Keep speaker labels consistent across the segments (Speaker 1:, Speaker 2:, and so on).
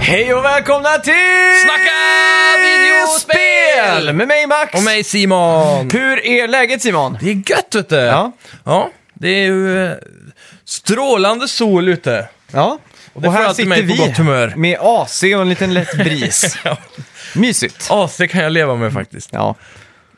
Speaker 1: Hej och välkomna till
Speaker 2: Snacka videospel!
Speaker 1: Med mig Max!
Speaker 2: Och mig Simon!
Speaker 1: Hur är läget Simon?
Speaker 2: Det är gött vet du!
Speaker 1: Ja.
Speaker 2: Ja, det är ju eh, strålande sol ute.
Speaker 1: Ja, och,
Speaker 2: det
Speaker 1: här
Speaker 2: förändrar
Speaker 1: sitter
Speaker 2: mig på
Speaker 1: vi
Speaker 2: gott humör.
Speaker 1: med AC och en liten lätt bris.
Speaker 2: Ja.
Speaker 1: Mysigt.
Speaker 2: AC kan jag leva med faktiskt.
Speaker 1: Ja,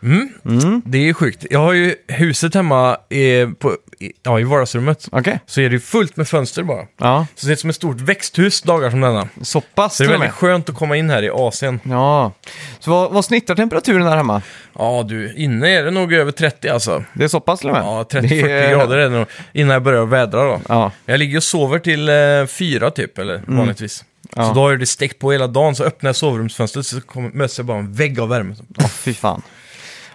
Speaker 1: Mm.
Speaker 2: Det är ju sjukt. Jag har ju huset hemma i, på, i, ja, i vardagsrummet.
Speaker 1: okej.
Speaker 2: Så är det ju fullt med fönster bara.
Speaker 1: Ja,
Speaker 2: Så det är som ett stort växthus dagar som denna.
Speaker 1: så pass
Speaker 2: Så det
Speaker 1: till
Speaker 2: är
Speaker 1: och
Speaker 2: väldigt
Speaker 1: med.
Speaker 2: skönt att komma in här i AC'n.
Speaker 1: Ja, så vad, vad snittar temperaturen här hemma?
Speaker 2: Ja du, inne är det nog över 30 alltså.
Speaker 1: Det är så pass till och med?
Speaker 2: Ja, 30-40
Speaker 1: Det är-
Speaker 2: grader är det nog innan jag börjar vädra då.
Speaker 1: Ja,
Speaker 2: Jag ligger och sover till eh, fyra typ, eller vanligtvis.
Speaker 1: Mm. Ja.
Speaker 2: Så då har det stekt på hela dagen, så öppnar jag sovrumsfönstret så kommer, möts jag bara av en vägg av värme.
Speaker 1: Åh, fy fan.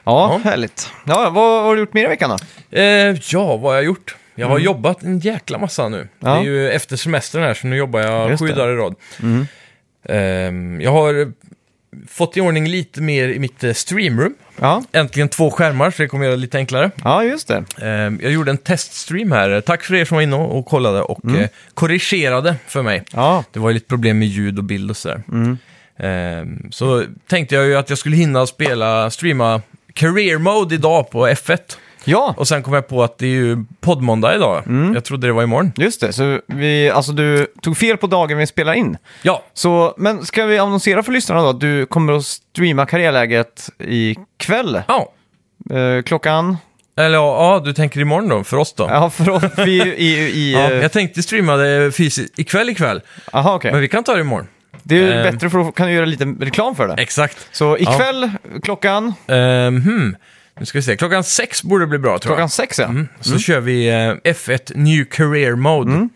Speaker 1: Ja,
Speaker 2: Ja.
Speaker 1: härligt. Ja, vad, vad har du gjort mer i veckan då?
Speaker 2: Eh, ja, vad har jag gjort? Jag har jobbat en jäkla massa nu.
Speaker 1: Mm. Ja.
Speaker 2: Det är ju efter semestern här, så nu jobbar jag
Speaker 1: Just
Speaker 2: sju
Speaker 1: det. Mm.
Speaker 2: dagar i rad. Ehm, jag har fått i ordning lite mer i mitt eh, streamroom.
Speaker 1: Ja,
Speaker 2: Äntligen två skärmar, så det kommer göra det lite enklare.
Speaker 1: ja just det.
Speaker 2: Ehm, jag gjorde en teststream här. Tack för er som var inne och kollade och
Speaker 1: Mm.
Speaker 2: eh, korrigerade för mig.
Speaker 1: Ja,
Speaker 2: Det var ju lite problem med ljud och bild och sådär.
Speaker 1: Mm.
Speaker 2: Ehm, så tänkte jag ju att jag skulle hinna spela, streama Career Mode idag på F1.
Speaker 1: ja.
Speaker 2: Och sen kom jag på att det är ju poddmåndag idag.
Speaker 1: Mm.
Speaker 2: Jag trodde det var imorgon.
Speaker 1: Just det, så vi, alltså du tog fel på dagen vi spelar in.
Speaker 2: Ja,
Speaker 1: Så, men ska vi annonsera för lyssnarna då att du kommer att streama karriärläget ikväll?
Speaker 2: ja.
Speaker 1: Eh, klockan?
Speaker 2: Eller ja, ja, du tänker imorgon då, för oss då. Ja.
Speaker 1: Ja, för att vi är ju i... i eh,
Speaker 2: jag tänkte streama det fysiskt ikväll ikväll,
Speaker 1: Aha, okej.
Speaker 2: men vi kan ta det imorgon.
Speaker 1: Det är ju
Speaker 2: ehm.
Speaker 1: bättre för då kan du göra lite reklam för det.
Speaker 2: Exakt.
Speaker 1: Så
Speaker 2: Ja.
Speaker 1: ikväll, klockan?
Speaker 2: Ehm, hmm. Nu ska vi se, klockan sex borde bli bra tror jag. Mm,
Speaker 1: Klockan Mm. sex ja.
Speaker 2: Så kör vi eh, F1 New Career Mode.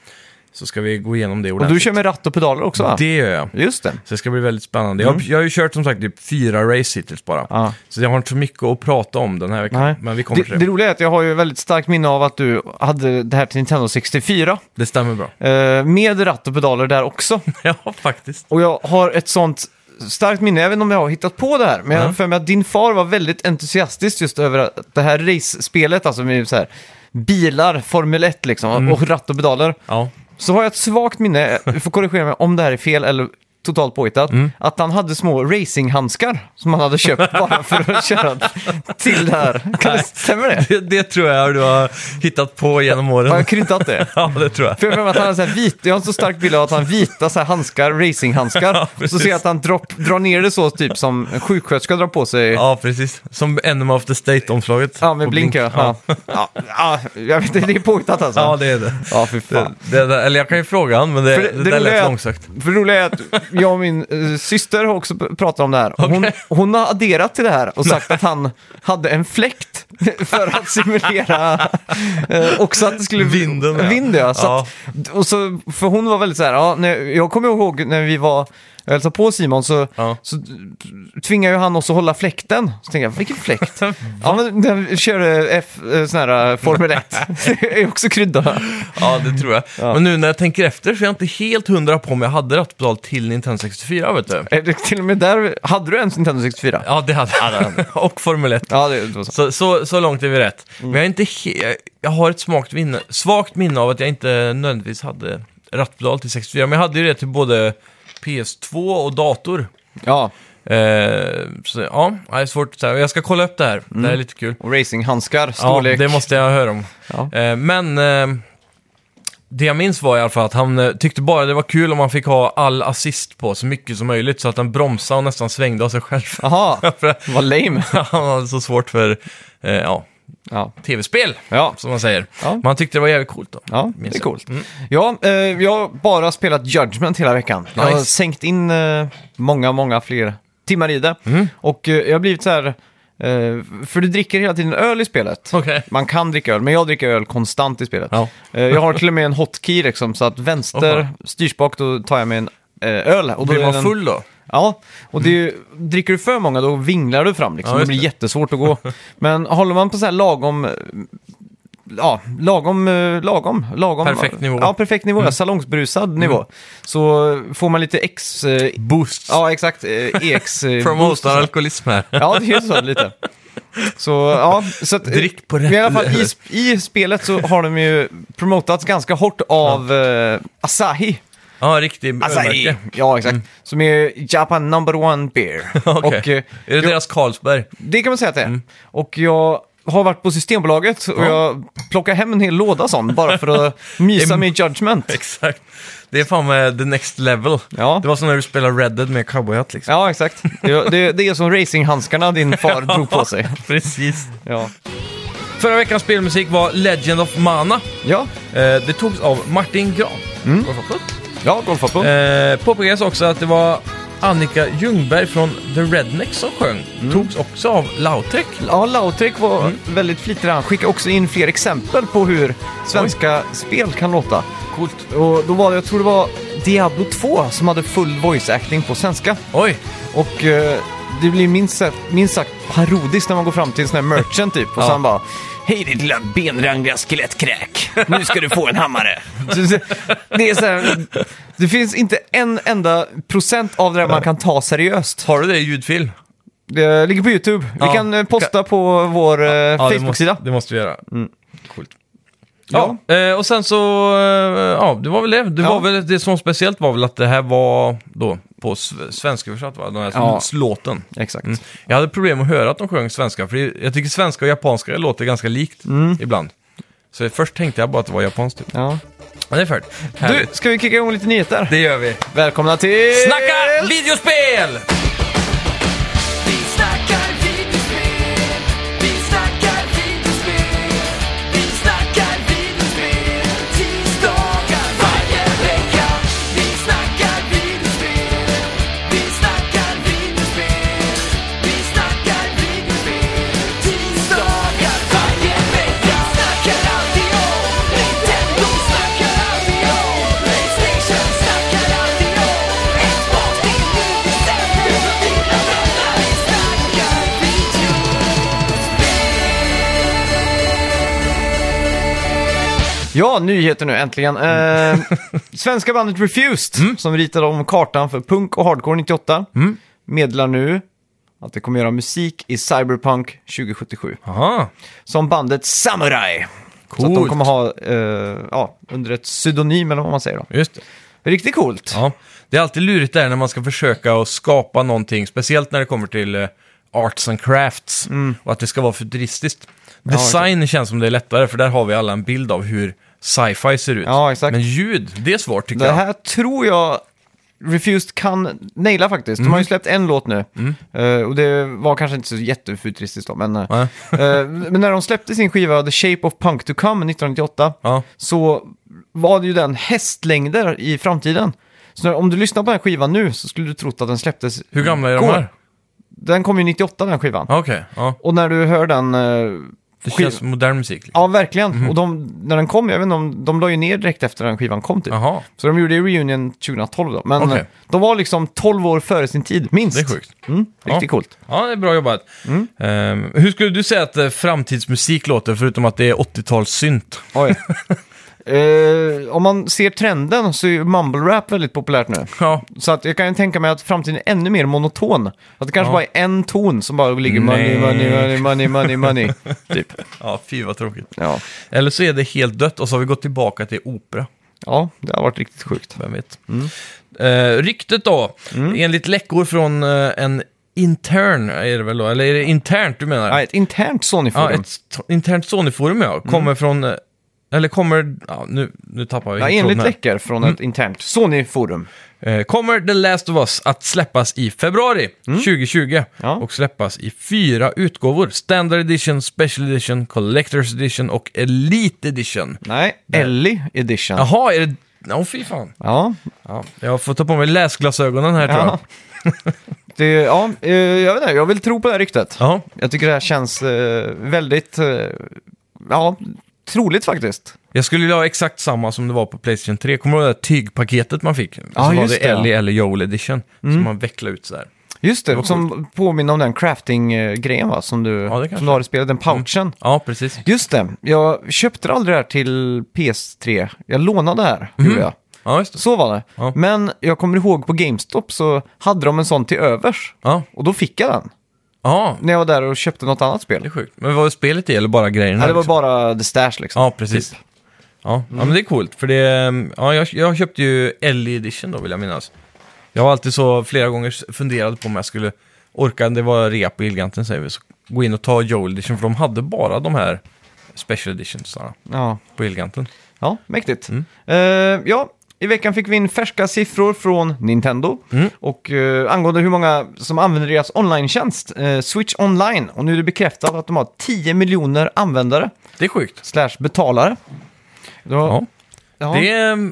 Speaker 2: Så ska vi gå igenom det
Speaker 1: Och
Speaker 2: ordentligt.
Speaker 1: du kör med ratt och pedaler också va?
Speaker 2: Det gör jag.
Speaker 1: Just det.
Speaker 2: Så det ska bli väldigt spännande. Jag, har- jag har ju kört som sagt typ fyra race hittills bara.
Speaker 1: Ja.
Speaker 2: Så jag har inte så mycket att prata om den här veckan.
Speaker 1: Nej.
Speaker 2: Men vi
Speaker 1: Det,
Speaker 2: kommer till
Speaker 1: det
Speaker 2: det.
Speaker 1: roliga är att jag har ju väldigt starkt minne av att du hade det här till Nintendo 64.
Speaker 2: Det stämmer bra.
Speaker 1: eh, med ratt och pedaler där också.
Speaker 2: ja, faktiskt.
Speaker 1: Och jag har ett sånt starkt minne, jag vet inte om jag har hittat på det här, men jag har
Speaker 2: Ja.
Speaker 1: för mig att din far var väldigt entusiastisk just över att det här race-spelet, alltså med så här bilar, Formel 1 liksom, och ratt och pedaler.
Speaker 2: Ja.
Speaker 1: Så har jag ett svagt minne, du får korrigera mig om det här är fel eller totalt påhittat, att han hade små racinghandskar som han hade köpt bara för att köra till det här. Kan det, stämmer det?
Speaker 2: Det, det tror jag du har hittat på genom
Speaker 1: Har
Speaker 2: åren.
Speaker 1: jag kryddat det?
Speaker 2: ja, det tror jag.
Speaker 1: För jag menar att han har så här vit, jag har en så stark bild av att han har vita så här handskar, racinghandskar.
Speaker 2: Ja,
Speaker 1: så
Speaker 2: precis.
Speaker 1: ser jag att han dropp, drar ner det så typ som en sjuksköterska drar på sig. Ja.
Speaker 2: Ja, precis. Som Enema of the State-omslaget.
Speaker 1: med
Speaker 2: På
Speaker 1: blink ja. Ja. Ja. jag vet inte, det är påhittat alltså.
Speaker 2: Ja,
Speaker 1: Ja,
Speaker 2: det är det.
Speaker 1: fy
Speaker 2: det,
Speaker 1: fan.
Speaker 2: det, det eller jag kan ju fråga han, men det,
Speaker 1: För det- det
Speaker 2: det, där
Speaker 1: roliga är
Speaker 2: lät
Speaker 1: att-
Speaker 2: långsökt.
Speaker 1: För det roliga är att jag och min eh, syster har också pr- pratat om det här. Hon,
Speaker 2: Okej.
Speaker 1: hon har adderat till det här och sagt att han hade en fläkt för att simulera eh, också att det skulle...
Speaker 2: Vinden, ja.
Speaker 1: Vind, ja. Så
Speaker 2: Ja.
Speaker 1: Att, och så, för hon var väldigt så här, ja, när, jag kommer ihåg när vi var jag hälsade på Simon så,
Speaker 2: Ja.
Speaker 1: så tvingade ju han oss att hålla fläkten. Så tänkte jag, vilken fläkt? ja, men när vi körde F, eh, sån här eh, Formel 1. det är också krydda.
Speaker 2: Ja, det tror jag. Men nu när jag tänker efter så är jag inte helt hundra på om jag hade rattpedal till Nintendo 64, vet du.
Speaker 1: Eh, det- Till och med där, hade du ens Nintendo 64?
Speaker 2: Ja, det hade jag. och Formel 1.
Speaker 1: Ja, det, det var så.
Speaker 2: Så, så, så långt är vi rätt.
Speaker 1: Mm.
Speaker 2: Men jag, är inte he- jag- jag har ett svagt, minne, svagt minne av att jag inte nödvändigtvis hade rattpedal till 64. Men jag hade ju det till både PS2 och dator.
Speaker 1: Ja,
Speaker 2: Eh, så ja, ja, det är svårt att säga. Jag ska kolla upp det här. Det här är lite kul.
Speaker 1: och racinghandskar,
Speaker 2: Ja,
Speaker 1: Mm. storlek.
Speaker 2: det måste jag höra om.
Speaker 1: Ja.
Speaker 2: Eh, men eh, det jag minns var i alla fall att han eh, tyckte bara det var kul om han fick ha all assist på så mycket som möjligt. Så att han bromsade och nästan svängde av sig själv.
Speaker 1: Jaha,
Speaker 2: För
Speaker 1: vad lame.
Speaker 2: han hade så svårt för eh, ja,
Speaker 1: Ja,
Speaker 2: tv-spel.
Speaker 1: ja,
Speaker 2: som man säger.
Speaker 1: Ja.
Speaker 2: Man tyckte det var jävligt coolt då.
Speaker 1: ja
Speaker 2: Minns
Speaker 1: det är
Speaker 2: jag.
Speaker 1: coolt. Ja, eh, jag har bara spelat Judgment hela veckan. Jag har
Speaker 2: Nice.
Speaker 1: sänkt in eh, många, många fler timmar i det.
Speaker 2: Mm.
Speaker 1: Och eh, jag har blivit så här, eh, för du dricker hela tiden öl i spelet.
Speaker 2: Okej.
Speaker 1: Man kan dricka öl, men jag dricker öl konstant i spelet.
Speaker 2: Ja.
Speaker 1: Eh, jag har till och med en hotkey liksom, så att vänster styrspak, då tar jag med en eh, öl. Och då
Speaker 2: Blir
Speaker 1: är
Speaker 2: man
Speaker 1: den-
Speaker 2: full då?
Speaker 1: Ja, och det är ju, dricker du för många då vinglar du fram liksom.
Speaker 2: Ja,
Speaker 1: det
Speaker 2: just
Speaker 1: blir
Speaker 2: det.
Speaker 1: jättesvårt att gå. Men håller man på så här lagom... eh, Ja, lagom, eh, lagom, lagom.
Speaker 2: Perfekt nivå. Mm.
Speaker 1: Ja, perfekt nivå. ja, Salongsberusad nivå. Så får man lite X... eh,
Speaker 2: Boost.
Speaker 1: Ja, exakt. eh, EX... eh, boost och
Speaker 2: Promotar
Speaker 1: så.
Speaker 2: alkoholism här.
Speaker 1: Ja, det är så lite. Så, ja. Så att, eh,
Speaker 2: Drick på rätt
Speaker 1: men I alla fall i, sp- i spelet så har de ju promotats ganska hårt av eh, Asahi.
Speaker 2: Ja, riktig
Speaker 1: Asahi!
Speaker 2: ölmärke.
Speaker 1: Ja, exakt. Som är Japan number one beer.
Speaker 2: Mm. Okej.
Speaker 1: Och, eh,
Speaker 2: är det
Speaker 1: jo,
Speaker 2: deras Carlsberg?
Speaker 1: det kan man säga att det är. Och jag har varit på Systembolaget och
Speaker 2: Ja.
Speaker 1: jag plockar hem en hel låda sån bara för att mysa med judgment.
Speaker 2: Exakt. Det är fan med the next level.
Speaker 1: Ja.
Speaker 2: Det var som när du spelade Red Dead med cowboyhatt liksom.
Speaker 1: Ja, exakt. Det, det, det är som racinghandskarna din far drog på sig.
Speaker 2: Precis.
Speaker 1: Ja.
Speaker 2: Förra veckans spelmusik var Legend of Mana.
Speaker 1: Ja,
Speaker 2: Eh, det togs av Martin Gran. Mm.
Speaker 1: ja golfapplåd.
Speaker 2: Eh, påpekas också att det var Annika Ljungberg från The Redneck som sjöng.
Speaker 1: Mm.
Speaker 2: Togs också av Lautrec.
Speaker 1: Ja, Lautrec var
Speaker 2: Mm.
Speaker 1: väldigt flitig. Han skickade också in fler exempel på hur svenska spel kan låta.
Speaker 2: Coolt.
Speaker 1: Och då var det, jag tror det var Diablo 2 som hade full voice acting på svenska.
Speaker 2: Oj,
Speaker 1: Och eh, det blir minst sagt, minst sagt parodiskt när man går fram till en sån här merchant typ. Och
Speaker 2: Ja.
Speaker 1: så han bara Hej ditt lilla benrangliga skelettkräk. Nu ska du få en hammare. Så- så- det, är så här, det finns inte en enda procent av det där man kan ta seriöst.
Speaker 2: har du det i ljudfil?
Speaker 1: Det ligger på YouTube.
Speaker 2: Ja.
Speaker 1: Vi kan eh, posta på vår eh,
Speaker 2: det måste,
Speaker 1: Facebook-sida.
Speaker 2: det måste vi göra. Coolt. Mm. Ja, eh, och sen så, eh, ja, det var väl det. Det,
Speaker 1: Ja.
Speaker 2: var väl, det som var speciellt var väl att det här var då på sve- svensköversatt, va? Den här
Speaker 1: Ja.
Speaker 2: låten.
Speaker 1: Exakt.
Speaker 2: Mm. Jag hade problem att höra att de sjöng svenska, för det- jag tycker svenska och japanska låter ganska likt ibland. Så först tänkte jag bara att det var japanskt typ.
Speaker 1: Ja.
Speaker 2: Men det är färdigt.
Speaker 1: Du,
Speaker 2: Härligt.
Speaker 1: ska vi kicka igång lite nyheter?
Speaker 2: det gör vi.
Speaker 1: Välkomna till...
Speaker 2: Snacka videospel!
Speaker 3: Vi snackar videospel, vi snackar videospel, vi snackar videospel, tisdagar varje vecka. Vi snackar videospel, vi snackar videospel, vi snackar videospel, tisdagar varje vecka. Snackar alltid om Nintendo, snackar alltid om Playstation, snackar alltid om Xbox, det är nu vi sänder för dina vänner. Vi snackar video.
Speaker 1: Ja, nyheter nu äntligen.
Speaker 2: Mm.
Speaker 1: Eh, svenska bandet Refused, som ritade om kartan för punk och hardcore 98,
Speaker 2: Mm.
Speaker 1: meddelar nu att det kommer göra musik i Cyberpunk 2077.
Speaker 2: Aha.
Speaker 1: Som bandet Samurai. Så att de
Speaker 2: Coolt.
Speaker 1: kommer ha eh, ja, under ett pseudonym eller vad man säger då.
Speaker 2: Just det.
Speaker 1: Riktigt coolt.
Speaker 2: Ja. Det är alltid lurigt där när man ska försöka att skapa någonting, speciellt när det kommer till eh, arts and crafts
Speaker 1: Mm.
Speaker 2: och att det ska vara futuristiskt. Design känns som det är lättare, för där har vi alla en bild av hur sci-fi ser ut.
Speaker 1: Ja, exakt.
Speaker 2: Men ljud, det är svårt tycker
Speaker 1: Det
Speaker 2: jag.
Speaker 1: här tror jag Refused kan naila faktiskt. De
Speaker 2: Mm.
Speaker 1: har ju släppt en låt nu. Eh, och det var kanske inte så jättefuturistiskt då, men... eh,
Speaker 2: Nej.
Speaker 1: eh, men när de släppte sin skiva The Shape of Punk to Come 1998
Speaker 2: Ja.
Speaker 1: så var det ju den hästlängder i framtiden. Så när, om du lyssnar på den här skivan nu så skulle du trott att den släpptes...
Speaker 2: Hur gamla är de
Speaker 1: igår.
Speaker 2: här?
Speaker 1: Den kom ju 98 den skivan.
Speaker 2: Ja, Okej, ja.
Speaker 1: Och när du hör den... eh,
Speaker 2: Det
Speaker 1: skiv-
Speaker 2: känns som modern musik. Liksom.
Speaker 1: Ja, verkligen. Och de, när den kom, jag vet inte om, de la ju ner direkt efter den skivan kom typ.
Speaker 2: Jaha,
Speaker 1: Så de gjorde reunion 2012 då. Men
Speaker 2: Okej.
Speaker 1: eh, de var liksom 12 år före sin tid, minst.
Speaker 2: det är sjukt.
Speaker 1: Mm, riktigt
Speaker 2: Ja.
Speaker 1: coolt.
Speaker 2: Ja, det är bra jobbat.
Speaker 1: Mm.
Speaker 2: Ehm, hur skulle du säga att eh, framtidsmusik låter, förutom att det är 80-talssynt?
Speaker 1: Oj. Eh, om man ser trenden så är ju mumble rap väldigt populärt nu.
Speaker 2: Ja,
Speaker 1: Så att jag kan ju tänka mig att framtiden är ännu mer monoton. Att det kanske
Speaker 2: Ja.
Speaker 1: bara är en ton som bara ligger money,
Speaker 2: Nej.
Speaker 1: money, money, money, money, money. typ.
Speaker 2: ja fy vad tråkigt.
Speaker 1: Ja.
Speaker 2: Eller så är det helt dött och så har vi gått tillbaka till opera.
Speaker 1: ja, det har varit riktigt sjukt.
Speaker 2: Vem vet?
Speaker 1: Mm.
Speaker 2: Eh, ryktet då, enligt läckor från eh, en intern, är det väl då? Eller är det internt du menar?
Speaker 1: Ja, ett internt
Speaker 2: ja,
Speaker 1: Sony-forum.
Speaker 2: ett st- internt Sony-forum
Speaker 1: Mm.
Speaker 2: ja, kommer från... eh, Eller kommer... Ja, nu, nu tappar jag
Speaker 1: Ja,
Speaker 2: tråden
Speaker 1: enligt
Speaker 2: här.
Speaker 1: läckor från
Speaker 2: Mm.
Speaker 1: ett internt Sony-forum.
Speaker 2: Eh, Kommer The Last of Us att släppas i februari 2020
Speaker 1: Mm. Ja.
Speaker 2: och släppas i fyra utgåvor. Standard Edition, Special Edition, Collector's Edition och Elite Edition.
Speaker 1: Nej, Ellie Edition.
Speaker 2: Jaha, är det... Åh fy fan.
Speaker 1: Ja,
Speaker 2: Ja, jag får ta på mig läsglasögonen här tror jag.
Speaker 1: ja. Det, ja, eh, jag vet inte, jag vill tro på det här ryktet.
Speaker 2: Ja,
Speaker 1: Jag tycker det här känns eh, väldigt, eh, ja, troligt faktiskt.
Speaker 2: jag skulle vilja ha exakt samma som det var på Playstation 3. Kommer du ihåg det där tygpaketet man fick?
Speaker 1: Ja,
Speaker 2: så var
Speaker 1: just
Speaker 2: det
Speaker 1: det, Mm. ja.
Speaker 2: Ellie eller Joel Edition. Som man vecklade ut sådär.
Speaker 1: Just det,
Speaker 2: var
Speaker 1: som påminner om den crafting-grejen va, som du,
Speaker 2: det kanske. Mm.
Speaker 1: som du har i spelet, den pouchen.
Speaker 2: Ja, precis.
Speaker 1: Just det, jag köpte aldrig det här till PS3. Jag lånade det här, gjorde jag.
Speaker 2: Ja, just det.
Speaker 1: Så var det.
Speaker 2: Mm. Ja.
Speaker 1: Men jag kommer ihåg på GameStop så hade de en sån till övers.
Speaker 2: Ja,
Speaker 1: Och då fick jag den.
Speaker 2: ja
Speaker 1: När jag var där och köpte något annat spel.
Speaker 2: det är sjukt. Men vad var spelet i eller bara grejerna?
Speaker 1: Nej, det var
Speaker 2: liksom?
Speaker 1: bara the stash liksom.
Speaker 2: Ja, precis. Ja, ja men det är coolt. För det, ehm, ja, jag, jag köpte ju LE Edition då vill jag minnas. Jag har alltid så flera gånger s- funderat på om jag skulle orka, det var rea på Elgiganten säger vi, så gå in och ta Joel Edition för de hade bara de här Special Editionsarna
Speaker 1: Ja,
Speaker 2: på Elgiganten.
Speaker 1: ja mäktigt.
Speaker 2: Mm.
Speaker 1: Eh, ja, i veckan fick vi in färska siffror från Nintendo.
Speaker 2: Mm.
Speaker 1: Och eh, angående hur många som använder deras online-tjänst, eh, Switch Online. Och nu är det bekräftat att de har 10 miljoner användare,
Speaker 2: Det är sjukt.
Speaker 1: slash betalare. Då-
Speaker 2: Ja.
Speaker 1: ja,
Speaker 2: Det, är,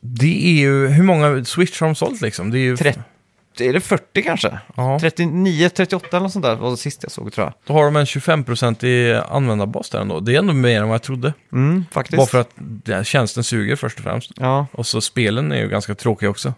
Speaker 2: det är ju, hur många Switch har de sålt liksom? Det är ju,
Speaker 1: 30, är det 40 kanske?
Speaker 2: Ja.
Speaker 1: 39, 38 eller något sånt där var det sist jag såg tror jag.
Speaker 2: Då har de en 25% i användarbas där ändå. Det är ändå mer än vad jag trodde.
Speaker 1: Mm, faktiskt.
Speaker 2: Bara för att den här tjänsten suger först och främst.
Speaker 1: Ja.
Speaker 2: Och så spelen är ju ganska tråkiga också.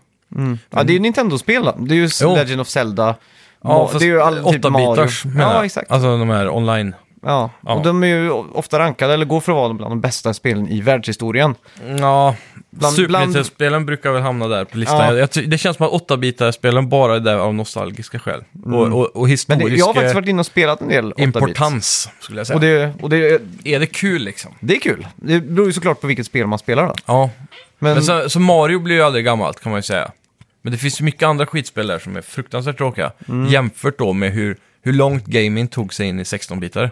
Speaker 1: Ja, det är ju Nintendo-spel då. Det är ju
Speaker 2: Jo.
Speaker 1: Legend of Zelda. Ma-
Speaker 2: Ja, fast
Speaker 1: det är ju all, typ Mario.
Speaker 2: bitars
Speaker 1: Ja, exakt.
Speaker 2: Alltså de här online.
Speaker 1: Ja.
Speaker 2: Ja.
Speaker 1: Och de är ju ofta rankade, eller går för att vara bland de bästa spelen i världshistorien.
Speaker 2: Ja,
Speaker 1: Bland-
Speaker 2: Super
Speaker 1: bland-
Speaker 2: Nintendo-spelen brukar väl hamna där på listan.
Speaker 1: Ja.
Speaker 2: Jag, ty- det känns som att 8-bitar-spelen bara är där av nostalgiska skäl. Och, och, och
Speaker 1: Mm. Men
Speaker 2: historisk
Speaker 1: det, jag har faktiskt
Speaker 2: eh,
Speaker 1: varit inne och spelat en del 8-bits.
Speaker 2: importans, skulle jag säga.
Speaker 1: Och, det, och det,
Speaker 2: Är det kul liksom?
Speaker 1: det är kul. Det beror ju såklart på vilket spel man spelar då.
Speaker 2: Ja.
Speaker 1: Men,
Speaker 2: Men så, så Mario blir ju aldrig gammalt, kan man ju säga. Men det finns ju mycket andra skitspel där som är fruktansvärt tråkiga. Jämfört då med hur, hur långt gaming tog sig in i 16-bitare.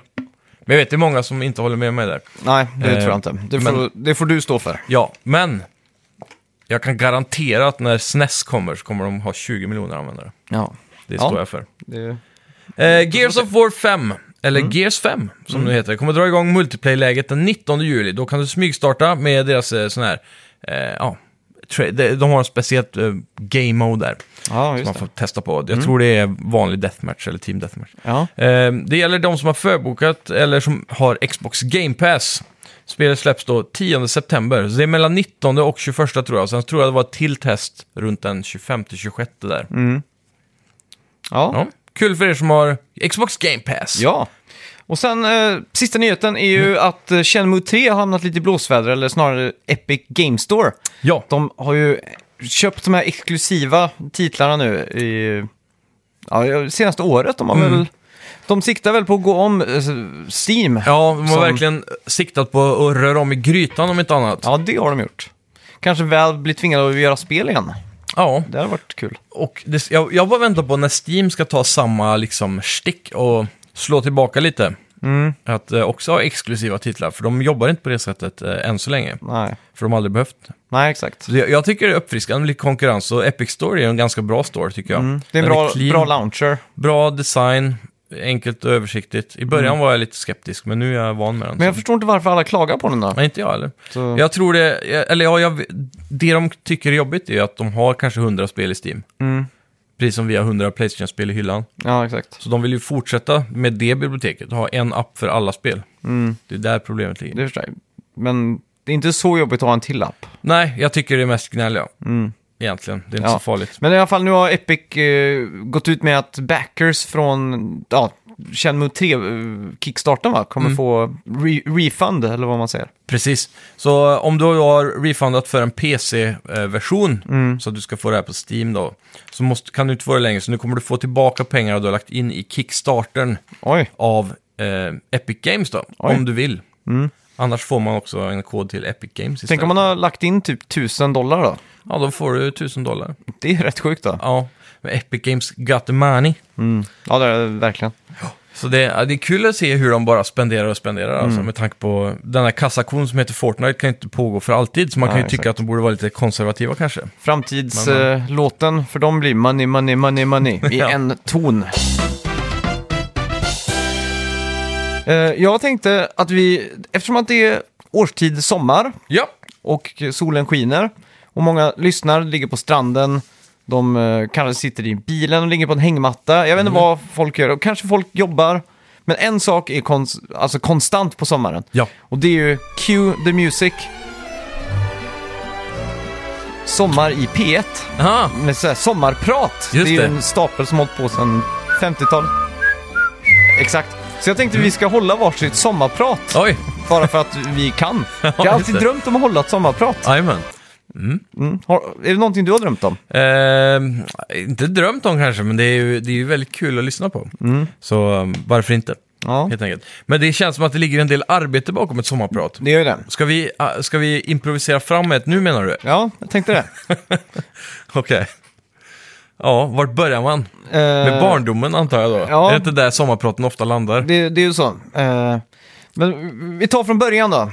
Speaker 2: Men jag vet, det är många som inte håller med mig där.
Speaker 1: nej, det
Speaker 2: Eh,
Speaker 1: tror jag inte. Det får,
Speaker 2: men-
Speaker 1: det får du stå för.
Speaker 2: Ja, men jag kan garantera att när SNES kommer så kommer de ha 20 miljoner användare.
Speaker 1: Ja.
Speaker 2: Det
Speaker 1: Ja.
Speaker 2: står jag för.
Speaker 1: Det,
Speaker 2: Eh, Gears of War 5, eller Gears 5 som det heter, kommer dra igång multiplayer-läget den 19 juli. Då kan du smygstarta med deras eh, sån här, eh, ja, tra- de, de har en speciellt eh, game mode där.
Speaker 1: ja,
Speaker 2: Som man
Speaker 1: just
Speaker 2: får
Speaker 1: det. Mm.
Speaker 2: testa på. Jag tror det är vanlig deathmatch eller team deathmatch.
Speaker 1: Ja.
Speaker 2: Eh, det gäller de som har förbokat eller som har Xbox Game Pass. Spelet släpps då 10 september, så det är mellan 19 och 21 tror jag. Sen tror jag det var ett till test runt den 25-26 där.
Speaker 1: Mm. Ja.
Speaker 2: Ja. Kul för er som har Xbox Game Pass.
Speaker 1: ja. Och sen, eh, sista nyheten är ju
Speaker 2: Mm.
Speaker 1: att eh, Shenmue 3 har hamnat lite i blåsväder, eller snarare Epic Game Store.
Speaker 2: ja.
Speaker 1: De har ju köpt de här exklusiva titlarna nu i ja, senaste året. De, har
Speaker 2: Mm.
Speaker 1: väl, de siktar väl på att gå om eh, Steam.
Speaker 2: Ja, de har
Speaker 1: Som-
Speaker 2: verkligen siktat på att röra om i grytan om inte annat.
Speaker 1: Ja, det har de gjort. Kanske väl blir tvingade att göra spel igen.
Speaker 2: Ja.
Speaker 1: Det hade varit kul.
Speaker 2: Och det, jag, jag bara väntar på när Steam ska ta samma liksom stick och slå tillbaka lite.
Speaker 1: Mm.
Speaker 2: Att eh, också ha exklusiva titlar, för de jobbar inte på det sättet eh, än så länge.
Speaker 1: Nej,
Speaker 2: För de har aldrig behövt.
Speaker 1: Nej exakt.
Speaker 2: Så jag, jag tycker det är uppfriskande med lite konkurrens och Epic Store är en ganska bra store tycker jag.
Speaker 1: Mm. Det är en
Speaker 2: Den
Speaker 1: bra,
Speaker 2: clean,
Speaker 1: bra launcher.
Speaker 2: bra design, enkelt och översiktligt. I början var jag lite skeptisk, men nu är jag van med den.
Speaker 1: Mm. Men jag
Speaker 2: Så-
Speaker 1: förstår inte varför alla klagar på den då.
Speaker 2: Nej, inte jag heller.
Speaker 1: Så-
Speaker 2: Jag tror det, eller ja, jag, det de tycker är jobbigt är ju att de har kanske 100 spel i Steam.
Speaker 1: Mm.
Speaker 2: Precis som vi har 100 Playstation-spel i hyllan.
Speaker 1: Ja, exakt.
Speaker 2: Så de vill ju fortsätta med det biblioteket och ha en app för alla spel.
Speaker 1: Mm.
Speaker 2: Det är där problemet ligger.
Speaker 1: Det förstår jag. Men det är inte så jobbigt att ha en till app.
Speaker 2: Nej, jag tycker det är mest gnäll, ja. Egentligen, det är inte
Speaker 1: Mm. Ja.
Speaker 2: så farligt.
Speaker 1: Men i alla fall, nu har Epic eh, gått ut med att backers från ja, Shenmue 3 eh, kickstarten va, kommer få re- refund, eller vad man säger.
Speaker 2: Precis. Så eh, om du har refundat för en PC-version,
Speaker 1: Mm.
Speaker 2: så att du ska få det här på Steam då, så måste, kan du inte få det längre. Så nu kommer du få tillbaka pengar du har lagt in i Kickstartern
Speaker 1: Oj,
Speaker 2: av eh, Epic Games då,
Speaker 1: Oj.
Speaker 2: om du vill. Annars får man också en kod till Epic Games istället.
Speaker 1: tänk om man har lagt in typ 1000 dollar då.
Speaker 2: Ja, då får du 1000 dollar.
Speaker 1: Det är rätt sjukt då.
Speaker 2: Ja, men Epic Games got the money.
Speaker 1: Ja, det är det verkligen.
Speaker 2: Så det, ja, det är kul att se hur de bara spenderar och spenderar, alltså, med tanke på den här kassakon som heter Fortnite kan ju inte pågå för alltid, så man
Speaker 1: Nej,
Speaker 2: kan ju
Speaker 1: exakt.
Speaker 2: tycka att de borde vara lite konservativa kanske. Men-
Speaker 1: Framtidslåten för dem blir Money, Money, Money, Money i
Speaker 2: Ja.
Speaker 1: en ton. Eh, Jag tänkte att vi, eftersom att det är årstid sommar,
Speaker 2: Ja,
Speaker 1: och solen skiner. Och många lyssnar, ligger på stranden, de eh, kanske sitter i bilen och ligger på en hängmatta. Jag vet
Speaker 2: Mm.
Speaker 1: inte vad folk gör, och kanske folk jobbar. Men en sak är kons- alltså konstant på sommaren.
Speaker 2: ja.
Speaker 1: Och det är ju Cue the Music. Sommar i P1.
Speaker 2: Aha.
Speaker 1: Med så här sommarprat.
Speaker 2: Just
Speaker 1: det är
Speaker 2: det.
Speaker 1: ju en stapel som hållit på sedan 50-talet. Exakt. Så jag tänkte vi
Speaker 2: Mm.
Speaker 1: ska hålla varsitt sommarprat.
Speaker 2: Oj,
Speaker 1: Bara för att vi kan. Jag har
Speaker 2: just
Speaker 1: alltid
Speaker 2: det.
Speaker 1: drömt om att hålla ett sommarprat.
Speaker 2: jajamän.
Speaker 1: Har, är det någonting du har drömt om?
Speaker 2: Ehm, Mm. inte drömt om kanske, men det är, ju, det är ju väldigt kul att lyssna på. Så um, varför inte?
Speaker 1: Ja,
Speaker 2: helt enkelt. Men det känns som att det ligger en del arbete bakom ett sommarprat.
Speaker 1: det gör ju det.
Speaker 2: Ska vi, ah, ska vi improvisera fram ett nu menar du?
Speaker 1: Ja, jag tänkte det.
Speaker 2: Okej. Ja, vart börjar man?
Speaker 1: Eh,
Speaker 2: Med barndomen antar jag då?
Speaker 1: ja.
Speaker 2: Är det inte där sommarpraten ofta landar?
Speaker 1: Det, det är ju så. Eh, men vi tar från början då.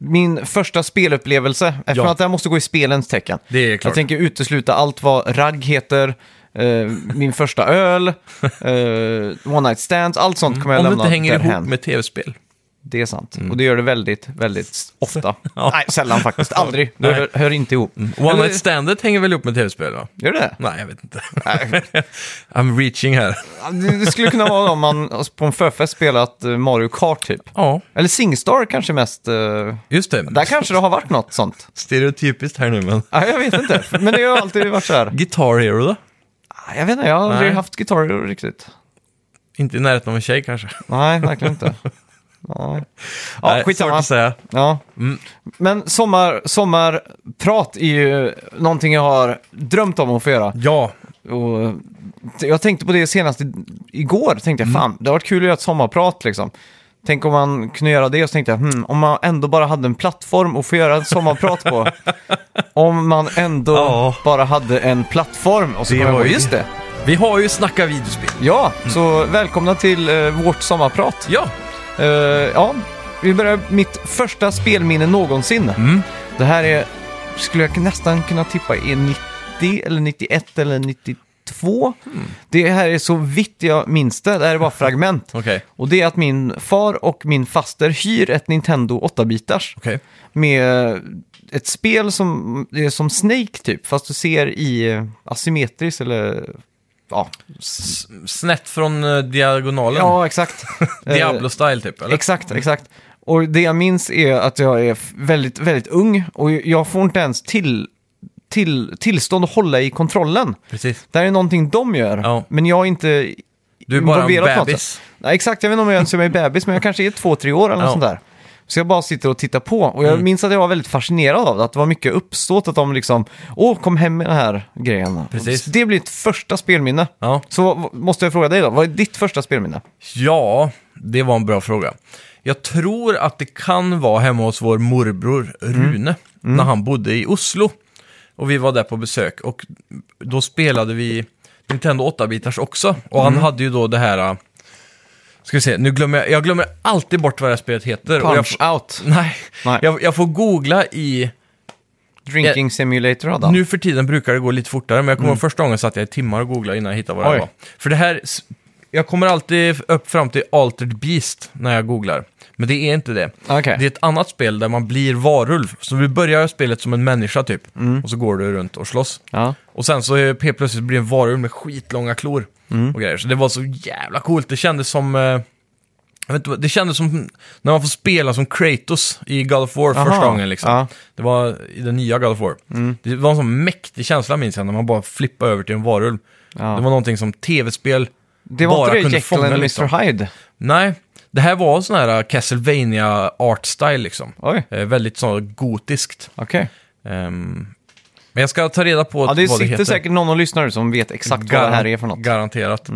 Speaker 1: Min första spelupplevelse, eftersom
Speaker 2: Mm. Ja.
Speaker 1: att det här måste gå i spelens tecken.
Speaker 2: Det är klart.
Speaker 1: Jag tänker utesluta allt vad ragg heter, eh, min första öl, eh, one night stands, allt sånt kommer jag
Speaker 2: Mm. Om
Speaker 1: lämna
Speaker 2: det inte hänger ihop
Speaker 1: därhän.
Speaker 2: med tv-spel.
Speaker 1: Det är sant. Och det gör det väldigt, väldigt ofta.
Speaker 2: Ja.
Speaker 1: Nej, sällan faktiskt. Aldrig. Det
Speaker 2: Nej. Mm.
Speaker 1: hör, hör inte ihop.
Speaker 2: One
Speaker 1: Eller-
Speaker 2: night standet hänger väl ihop med tv-spel va?
Speaker 1: Gör det?
Speaker 2: Nej, jag vet inte.
Speaker 1: Nej.
Speaker 2: I'm reaching här.
Speaker 1: Det det skulle kunna vara om man alltså, på en förfest spelat eh, Mario Kart typ.
Speaker 2: Ja,
Speaker 1: Eller Singstar kanske mest. eh,
Speaker 2: just det.
Speaker 1: Där kanske det har varit något sånt.
Speaker 2: Stereotypiskt här nu men.
Speaker 1: Ja, jag vet inte, men det har alltid varit så här.
Speaker 2: Guitar Hero då?
Speaker 1: Ah, Jag vet inte, jag har aldrig
Speaker 2: Nej.
Speaker 1: haft gitarrer riktigt.
Speaker 2: Inte i närheten av en tjej kanske.
Speaker 1: Nej, verkligen inte. Ja, ja
Speaker 2: Nej, svårt
Speaker 1: skitsamma.
Speaker 2: att säga. Mm.
Speaker 1: Ja. Men sommar, sommarprat är ju någonting jag har drömt om att få göra.
Speaker 2: Ja,
Speaker 1: Och t- jag tänkte på det senast i- igår, tänkte
Speaker 2: Mm.
Speaker 1: jag fan, det har varit kul att göra ett sommarprat liksom. Tänk om man kunde göra det och så tänkte jag, hmm, om man ändå bara hade en plattform att få göra ett sommarprat på. om man ändå
Speaker 2: Ja.
Speaker 1: bara hade en plattform. Och så
Speaker 2: Det Mm.
Speaker 1: kom jag
Speaker 2: var
Speaker 1: på,
Speaker 2: ju-
Speaker 1: just det.
Speaker 2: vi har ju Snacka videospel.
Speaker 1: Ja, så välkomna till eh, vårt sommarprat.
Speaker 2: Ja,
Speaker 1: Eh, ja, vi börjar mitt första spelminne någonsin.
Speaker 2: Mm.
Speaker 1: Det här är, skulle jag nästan kunna tippa är 90 eller 91 eller 92.
Speaker 2: Mm.
Speaker 1: Det här är så vitt jag minns det, det här är bara fragment.
Speaker 2: okej.
Speaker 1: Och det är att min far och min faster hyr ett Nintendo 8-bitars
Speaker 2: Okej.
Speaker 1: med ett spel som det är som Snake typ, fast du ser i eh, asymmetriskt eller ja,
Speaker 2: S- Snett från eh, diagonalen.
Speaker 1: Ja, exakt. Eh,
Speaker 2: Diablo-style typ, eller?
Speaker 1: Exakt, exakt. Och det jag minns är att jag är f- väldigt, väldigt ung och jag får inte ens till, till, tillstånd att hålla i kontrollen.
Speaker 2: Precis.
Speaker 1: Det här är någonting de gör,
Speaker 2: Ja.
Speaker 1: men jag är inte
Speaker 2: Du är bara en
Speaker 1: involverad på något sätt.
Speaker 2: bebis.
Speaker 1: Nej, exakt, jag vet inte om jag ens är med bebis, men jag kanske är två, tre år eller något
Speaker 2: Ja. Mm.
Speaker 1: sånt där. Så jag bara sitter och tittar på och jag minns att jag var väldigt fascinerad av det, att det var mycket uppståt, att de liksom, åh, kom hem med den här grejen.
Speaker 2: Precis.
Speaker 1: Det blir ett första spelminne.
Speaker 2: Ja.
Speaker 1: Så vad- måste jag fråga dig då, vad är ditt första spelminne?
Speaker 2: ja, det var en bra fråga. Jag tror att det kan vara hemma hos vår morbror Rune, när han bodde i Oslo. Och vi var där på besök och då spelade vi Nintendo 8-bitars också. Och
Speaker 1: Mm.
Speaker 2: han hade ju då det här... äh, Ska vi se, nu glömmer jag, jag glömmer alltid bort vad det här spelet heter. och jag,
Speaker 1: Punch
Speaker 2: får-
Speaker 1: out.
Speaker 2: nej,
Speaker 1: Nej.
Speaker 2: Jag, jag får googla i
Speaker 1: Drinking simulator hade han.
Speaker 2: Nu för tiden brukar det gå lite fortare, men jag kommer ihåg första gången satt jag i timmar och googlade innan jag hittade vad det
Speaker 1: Mm. Oj.
Speaker 2: var. För det här, s- jag kommer alltid upp fram till Altered Beast när jag googlar. Men det är inte det.
Speaker 1: Okej.
Speaker 2: Det är ett annat spel där man blir varulv. Så vi börjar spelet som en människa typ, och så går du runt och slåss.
Speaker 1: Mm. Ja.
Speaker 2: Och sen så är- helt plötsligt blir det en varulv med skitlånga klor
Speaker 1: Mm.
Speaker 2: och grejer. Så det var så jävla coolt. Det kändes som... eh, Jag vet inte, vad- det kändes som när man får spela som Kratos i God of War första
Speaker 1: Aha.
Speaker 2: gången. Liksom.
Speaker 1: Ja. Mm.
Speaker 2: Det var i den nya God of War. Det var en sån mäktig känsla minns jag, när man bara flippade över till en varulv. Det var någonting som tv-spel
Speaker 1: Det var
Speaker 2: bara
Speaker 1: inte det
Speaker 2: kunde
Speaker 1: Jekyll
Speaker 2: fånga.
Speaker 1: and
Speaker 2: Liksom.
Speaker 1: Mr. Hyde?
Speaker 2: Nej, det här var sån här eh, Castlevania art style liksom.
Speaker 1: Oj,
Speaker 2: Eh, väldigt så gotiskt.
Speaker 1: okej.
Speaker 2: Ehm, men jag ska ta reda på
Speaker 1: Ja, det
Speaker 2: vad det
Speaker 1: sitter
Speaker 2: heter.
Speaker 1: säkert någon och lyssnar nu som vet exakt vad det här är för något. Mm.
Speaker 2: Garanterat.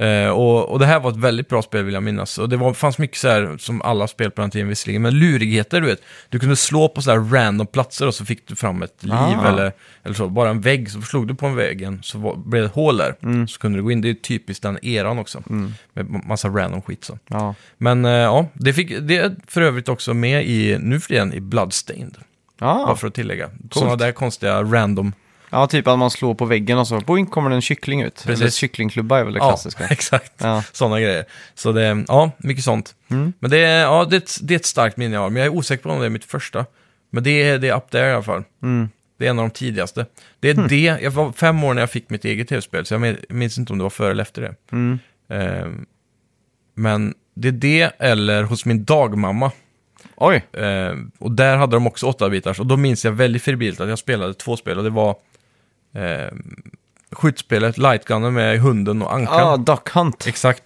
Speaker 2: Eh, och, och det här var ett väldigt bra spel vill jag minnas. Och det var, fanns mycket så här, som alla spel på den tiden visserligen, men lurigheter du vet. Du kunde slå på så här random platser och så fick du fram ett liv
Speaker 1: Ah.
Speaker 2: eller, eller så. Bara en vägg, så slog du på en väggen så var, blev det ett hål där.
Speaker 1: Mm.
Speaker 2: Så kunde du gå in. Det är typiskt den eran också. Med massa random skit så.
Speaker 1: Ja.
Speaker 2: Men eh, ja, det, fick, det är för övrigt också med i, nu för tiden, i Bloodstained. Bara
Speaker 1: Ja.
Speaker 2: för att tillägga. Sådana där konstiga random
Speaker 1: ja, typ att man slår på väggen och så boing kommer det en kyckling ut.
Speaker 2: Precis.
Speaker 1: Eller kycklingklubba är väl det klassiska.
Speaker 2: Ja, exakt.
Speaker 1: Ja.
Speaker 2: Sådana grejer. Så det, ja, mycket sånt. Men det, är- ja, det, är ett- det är ett starkt minne jag har, men jag är osäker på om det är mitt första. Men det är, det är up there i alla fall. Det är en av de tidigaste. Det är det, jag var fem år när jag fick mitt eget tv-spel, så jag min- minns inte om det var före eller efter det. Ehm, men det är det eller hos min dagmamma.
Speaker 1: Oj,
Speaker 2: Ehm, och där hade de också åtta bitars och då minns jag väldigt febrilt att jag spelade två spel och det var ehm, skjutspelet Lightgunner med hunden och ankan.
Speaker 1: ah, Duck Hunt.
Speaker 2: Exakt.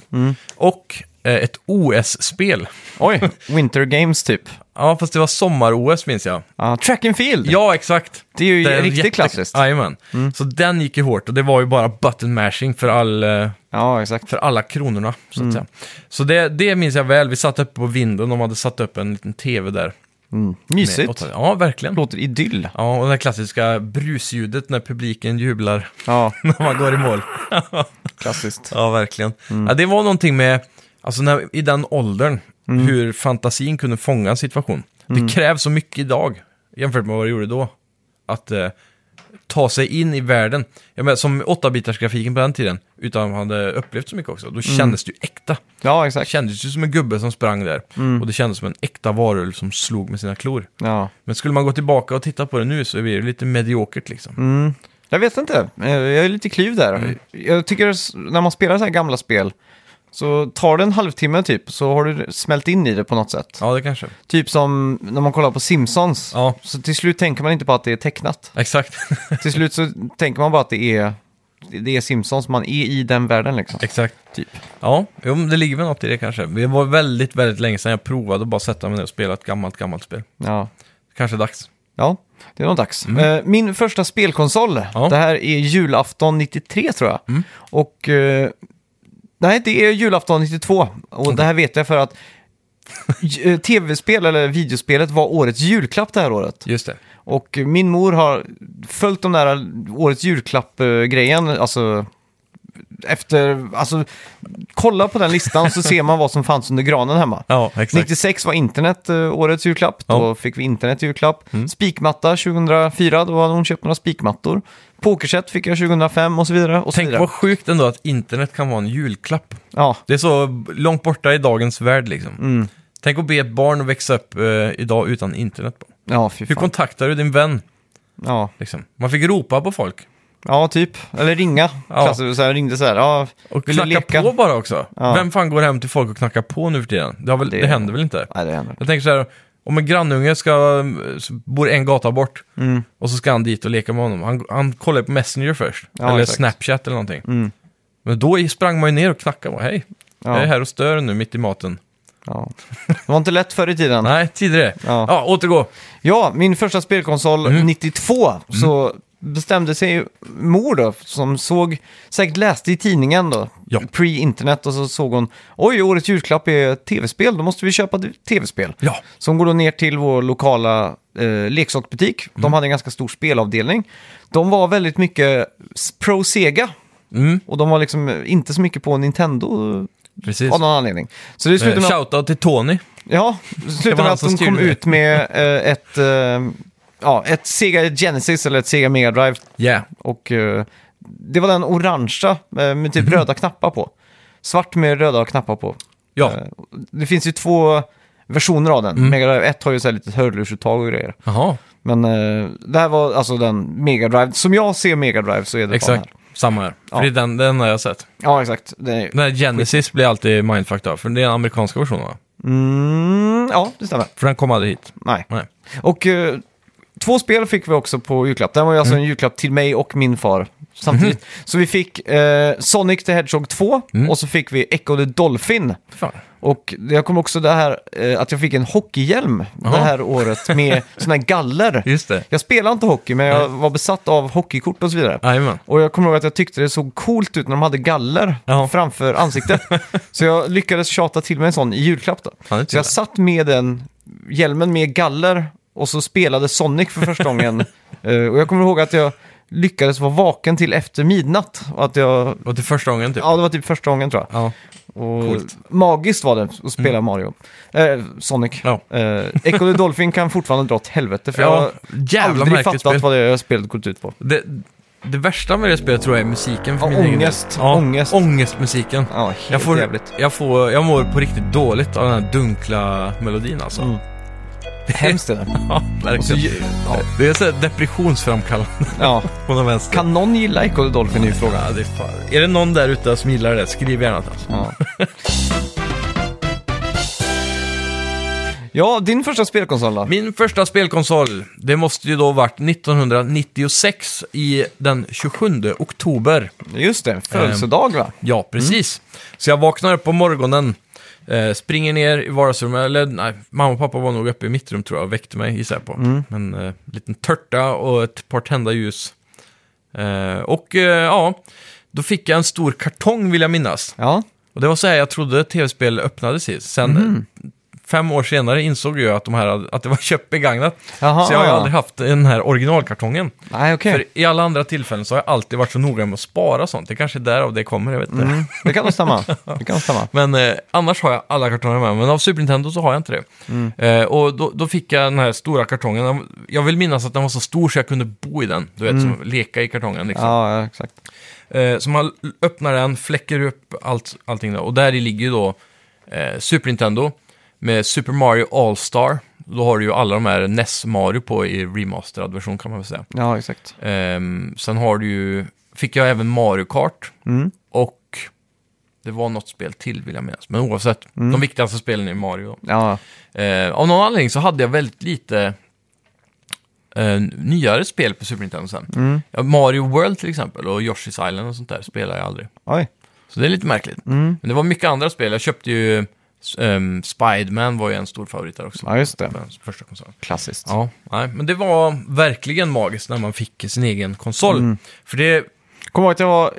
Speaker 2: Och eh, ett OS-spel.
Speaker 1: Oj, Winter Games typ.
Speaker 2: Ja, fast det var sommar-OS minns jag.
Speaker 1: Ja, track and field!
Speaker 2: Ja, exakt.
Speaker 1: Det är ju
Speaker 2: en
Speaker 1: riktigt klassiskt. Mm.
Speaker 2: Jajamän. Så den gick ju hårt och det var ju bara button mashing för, all, eh,
Speaker 1: Ja, exakt.
Speaker 2: för alla kronorna. Så, att
Speaker 1: Mm.
Speaker 2: säga. så det, det minns jag väl. Vi satt uppe på vinden, de hade satt upp en liten tv där. Med
Speaker 1: Mysigt.
Speaker 2: åtta- ja, verkligen.
Speaker 1: Låter idyll.
Speaker 2: Ja, och det här klassiska brusljudet när publiken jublar
Speaker 1: Ja,
Speaker 2: när man går i mål.
Speaker 1: klassiskt.
Speaker 2: Ja, verkligen. Ja, det var någonting med, alltså när, i den åldern, hur fantasin kunde fånga en situation. Det krävs så mycket idag, jämfört med vad det gjorde då. Att eh, ta sig in i världen. Jag menar, som 8-bitarsgrafiken på den tiden, utan man hade upplevt så mycket också, då kändes det ju äkta.
Speaker 1: Ja,
Speaker 2: Det
Speaker 1: exakt.
Speaker 2: kändes ju som en gubbe som sprang där. Och det kändes som en äkta varulv som slog med sina klor.
Speaker 1: Ja.
Speaker 2: Men skulle man gå tillbaka och titta på det nu så blir det lite mediokert liksom.
Speaker 1: Jag vet inte, Eh, jag är lite kliv där. Jag tycker s- när man spelar så här gamla spel så tar det en halvtimme typ, så har du smält in i det på något sätt.
Speaker 2: Ja, det kanske.
Speaker 1: Typ som när man kollar på Simpsons.
Speaker 2: Ja.
Speaker 1: Så till slut tänker man inte på att det är tecknat.
Speaker 2: Exakt.
Speaker 1: till slut så tänker man bara att det är, det är Simpsons, man är i den världen liksom.
Speaker 2: Exakt.
Speaker 1: Typ.
Speaker 2: Ja, jo, men det ligger väl något i det kanske. Det var väldigt, väldigt länge sedan jag provade att bara sätta mig ner och spela ett gammalt, gammalt spel.
Speaker 1: Ja.
Speaker 2: Kanske dags.
Speaker 1: ja, det är nog dags. Eh, Min första spelkonsol,
Speaker 2: Ja.
Speaker 1: det här är julafton 93 tror jag. Och eh, nej, det är julafton 92. Och det här vet jag för att j- eh, tv-spel eller videospelet var årets julklapp det här året.
Speaker 2: Just det.
Speaker 1: Och min mor har följt de där årets julklapp-grejen, alltså efter, alltså kolla på den listan så ser man vad som fanns under granen hemma.
Speaker 2: Ja, exakt.
Speaker 1: 96 var internet eh, årets julklapp, då
Speaker 2: Ja. Mm.
Speaker 1: fick vi internet i julklapp. Spikmatta 2004, då hade hon köpt några spikmattor. Pokerset fick jag 2005 och så vidare. Och så
Speaker 2: Tänk
Speaker 1: vidare.
Speaker 2: vad sjukt ändå att internet kan vara en julklapp.
Speaker 1: Ja,
Speaker 2: Det är så långt borta i dagens värld liksom. Tänk att be ett barn att växa upp eh, idag utan internet.
Speaker 1: ja fy
Speaker 2: Hur
Speaker 1: fan.
Speaker 2: kontaktar du din vän?
Speaker 1: Ja.
Speaker 2: Liksom? Man fick ropa på folk.
Speaker 1: ja, typ. Eller ringa.
Speaker 2: Ja.
Speaker 1: Klassiskt, så här, ringde så här, ja,
Speaker 2: Och
Speaker 1: vill du
Speaker 2: knacka
Speaker 1: leka?
Speaker 2: på bara också.
Speaker 1: Ja.
Speaker 2: Vem fan går hem till folk och knackar på nu för tiden? Det, har väl, det...
Speaker 1: Det-
Speaker 2: händer väl inte?
Speaker 1: Nej, det händer.
Speaker 2: Jag tänker så här, om en grannunge ska, bor en gata bort
Speaker 1: Mm.
Speaker 2: och så ska han dit och leka med honom. Han, han kollar på Messenger först,
Speaker 1: Ja,
Speaker 2: eller
Speaker 1: exakt. Mm.
Speaker 2: Snapchat eller någonting. Men då sprang man ju ner och knackade. Och, Hej,
Speaker 1: Ja.
Speaker 2: jag är här och stör nu mitt i maten.
Speaker 1: Ja. Det var inte lätt förr i tiden.
Speaker 2: Nej, tidigare. Ja,
Speaker 1: Ja.
Speaker 2: återgå.
Speaker 1: Ja, min första spelkonsol 92 så bestämde sig ju mor då, som såg, säkert läste i tidningen då,
Speaker 2: Ja.
Speaker 1: pre-internet och så såg hon, oj, årets julklapp är tv-spel, då måste vi köpa d- tv-spel.
Speaker 2: Ja.
Speaker 1: Så hon går då ner till vår lokala eh, leksaksbutik, de hade en ganska stor spelavdelning. De var väldigt mycket s- pro-Sega
Speaker 2: Mm,
Speaker 1: och de var liksom eh, inte så mycket på Nintendo
Speaker 2: precis.
Speaker 1: av någon anledning. Så det slutade
Speaker 2: Eh,
Speaker 1: med att
Speaker 2: Shoutout till Tony.
Speaker 1: Ja,
Speaker 2: Det var alltså E.
Speaker 1: slutade
Speaker 2: han
Speaker 1: med att
Speaker 2: som
Speaker 1: de kom
Speaker 2: styrde.
Speaker 1: ut med eh, ett, eh, ja, ett Sega Genesis eller ett Sega Mega Drive.
Speaker 2: Yeah.
Speaker 1: Och eh, det var den orangea eh, med
Speaker 2: Mhm.
Speaker 1: typ röda knappar på. Svart med röda knappar på.
Speaker 2: Ja, Mm.
Speaker 1: Eh, Det finns ju två versioner av den. Mega Drive 1 har ju så här lite hörlursuttag och grejer.
Speaker 2: jaha,
Speaker 1: Men eh, det här var alltså den Mega Drive. Som jag ser Mega Drive så är det fan
Speaker 2: exakt.
Speaker 1: här.
Speaker 2: Samma här.
Speaker 1: Ja.
Speaker 2: För det är den, den har jag sett.
Speaker 1: Ja, exakt. Det är...
Speaker 2: Den här Genesis blir alltid mindfucked av, för det är den amerikanska versionen va?
Speaker 1: mm, ja, det stämmer.
Speaker 2: För den kom aldrig hit.
Speaker 1: Nej.
Speaker 2: Nej.
Speaker 1: Och eh, två spel fick vi också på julklapp. Den var ju alltså
Speaker 2: Mm.
Speaker 1: en julklapp till mig och min far samtidigt.
Speaker 2: Mhm.
Speaker 1: Så vi fick eh, Sonic the Hedgehog 2
Speaker 2: Mm.
Speaker 1: och så fick vi Echo the Dolphin.
Speaker 2: Fan.
Speaker 1: Och jag kommer också det här eh, att jag fick en hockeyhjälm
Speaker 2: Jaha.
Speaker 1: det här året med sådana här galler.
Speaker 2: Just det.
Speaker 1: Jag spelade inte hockey, men jag var besatt av hockeykort och så vidare.
Speaker 2: Jajamän.
Speaker 1: Och jag kommer ihåg att jag tyckte det såg coolt ut när de hade galler
Speaker 2: Ja.
Speaker 1: framför ansiktet. så jag lyckades tjata till mig en sån i julklapp då.
Speaker 2: Fan, det är typ
Speaker 1: så jag
Speaker 2: kul.
Speaker 1: satt med den hjälmen med galler och så spelade Sonic för första gången. Eh, och jag kommer ihåg att jag lyckades vara vaken till efter midnatt. Och att jag,
Speaker 2: Och till första gången typ.
Speaker 1: ja, det var typ första gången tror jag.
Speaker 2: Ja.
Speaker 1: Och
Speaker 2: Coolt. Mm.
Speaker 1: Magiskt var det att spela Mario. Eh, Sonic.
Speaker 2: Ja.
Speaker 1: Eh, Echo the Dolphin kan fortfarande dra åt helvete för
Speaker 2: Ja,
Speaker 1: jag har
Speaker 2: jävla
Speaker 1: aldrig
Speaker 2: märkligt
Speaker 1: fattat
Speaker 2: spel.
Speaker 1: vad det är spelet gått ut på.
Speaker 2: Det, det värsta med det spelet tror jag är musiken för
Speaker 1: Ja,
Speaker 2: min egen del.
Speaker 1: ångest, ångest.
Speaker 2: Ångestmusiken.
Speaker 1: Ja, helt
Speaker 2: jag, får,
Speaker 1: jävligt.
Speaker 2: jag, får, jag mår på riktigt dåligt av den här dunkla melodin alltså.
Speaker 1: Mm. Hemskt Alltså, är det.
Speaker 2: Ja, verkligen. Det är så här depressionsframkallande
Speaker 1: Ja.
Speaker 2: på någon vänster.
Speaker 1: Kan någon gilla Echo the Dolphin i frågan?
Speaker 2: Ja, det är, fan. är det någon där ute som gillar det, skriv gärna till oss.
Speaker 1: Ja. ja, din första spelkonsol då?
Speaker 2: Min första spelkonsol, det måste ju då varit 1996 i den 27 oktober.
Speaker 1: Just det, födelsedag va?
Speaker 2: Ja, precis. Så jag vaknar upp på morgonen Eh, springer ner i vardagsrummet, eller nej, mamma och pappa var nog uppe i mitt rum tror jag och väckte mig, gissar jag på.
Speaker 1: Mm.
Speaker 2: Men eh, liten törta och ett par tända ljus. Eh, och eh, ja, då fick jag en stor kartong vill jag minnas.
Speaker 1: Ja,
Speaker 2: Och det var så här jag trodde tv-spel öppnades i. Sen
Speaker 1: Mm.
Speaker 2: eh, fem år senare insåg jag att, de här, att det var köpt begagnat.
Speaker 1: Jaha,
Speaker 2: så jag har ju
Speaker 1: ja.
Speaker 2: aldrig haft den här originalkartongen.
Speaker 1: nej okej.
Speaker 2: För i alla andra tillfällen så har jag alltid varit så noga med att spara sånt. Det kanske är därav det kommer, jag vet inte.
Speaker 1: Mm. Det kan nog stämma. Det kan nog stämma.
Speaker 2: Men eh, annars har jag alla kartonger med men av Super Nintendo så har jag inte det. Eh, och då, då fick jag den här stora kartongen. Den- Jag vill minnas att den var så stor så jag kunde bo i den. Du vet, som leka i kartongen liksom.
Speaker 1: Ja, ja, exakt.
Speaker 2: Eh, så man l- öppnar den, fläcker upp allt, allting där. Och där i ligger ju då eh, Super Nintendo med Super Mario All-Star. Då har du ju alla de här NES Mario på i remasterad version kan man väl säga.
Speaker 1: Ja, exakt.
Speaker 2: Ehm, sen har du ju, fick jag även Mario Kart
Speaker 1: Mm.
Speaker 2: och det var något spel till vill jag minnas. Men oavsett,
Speaker 1: Mm.
Speaker 2: de viktigaste spelen är Mario. då.
Speaker 1: Ja,
Speaker 2: Eh, av någon anledning så hade jag väldigt lite eh, nyare spel på Super Nintendo sen.
Speaker 1: Mm.
Speaker 2: Ja, Mario World till exempel och Yoshi's Island och sånt där spelar jag aldrig.
Speaker 1: oj.
Speaker 2: Så det är lite märkligt.
Speaker 1: Mm.
Speaker 2: Men det var mycket andra spel. Jag köpte ju Spiderman Spiderman var ju en stor favorit där också.
Speaker 1: Ja, just det.
Speaker 2: På den Första konsolen.
Speaker 1: Klassiskt.
Speaker 2: Ja, nej, men det var verkligen magiskt när man fick sin egen konsol.
Speaker 1: Mm.
Speaker 2: För det,
Speaker 1: Kommer ihåg att jag var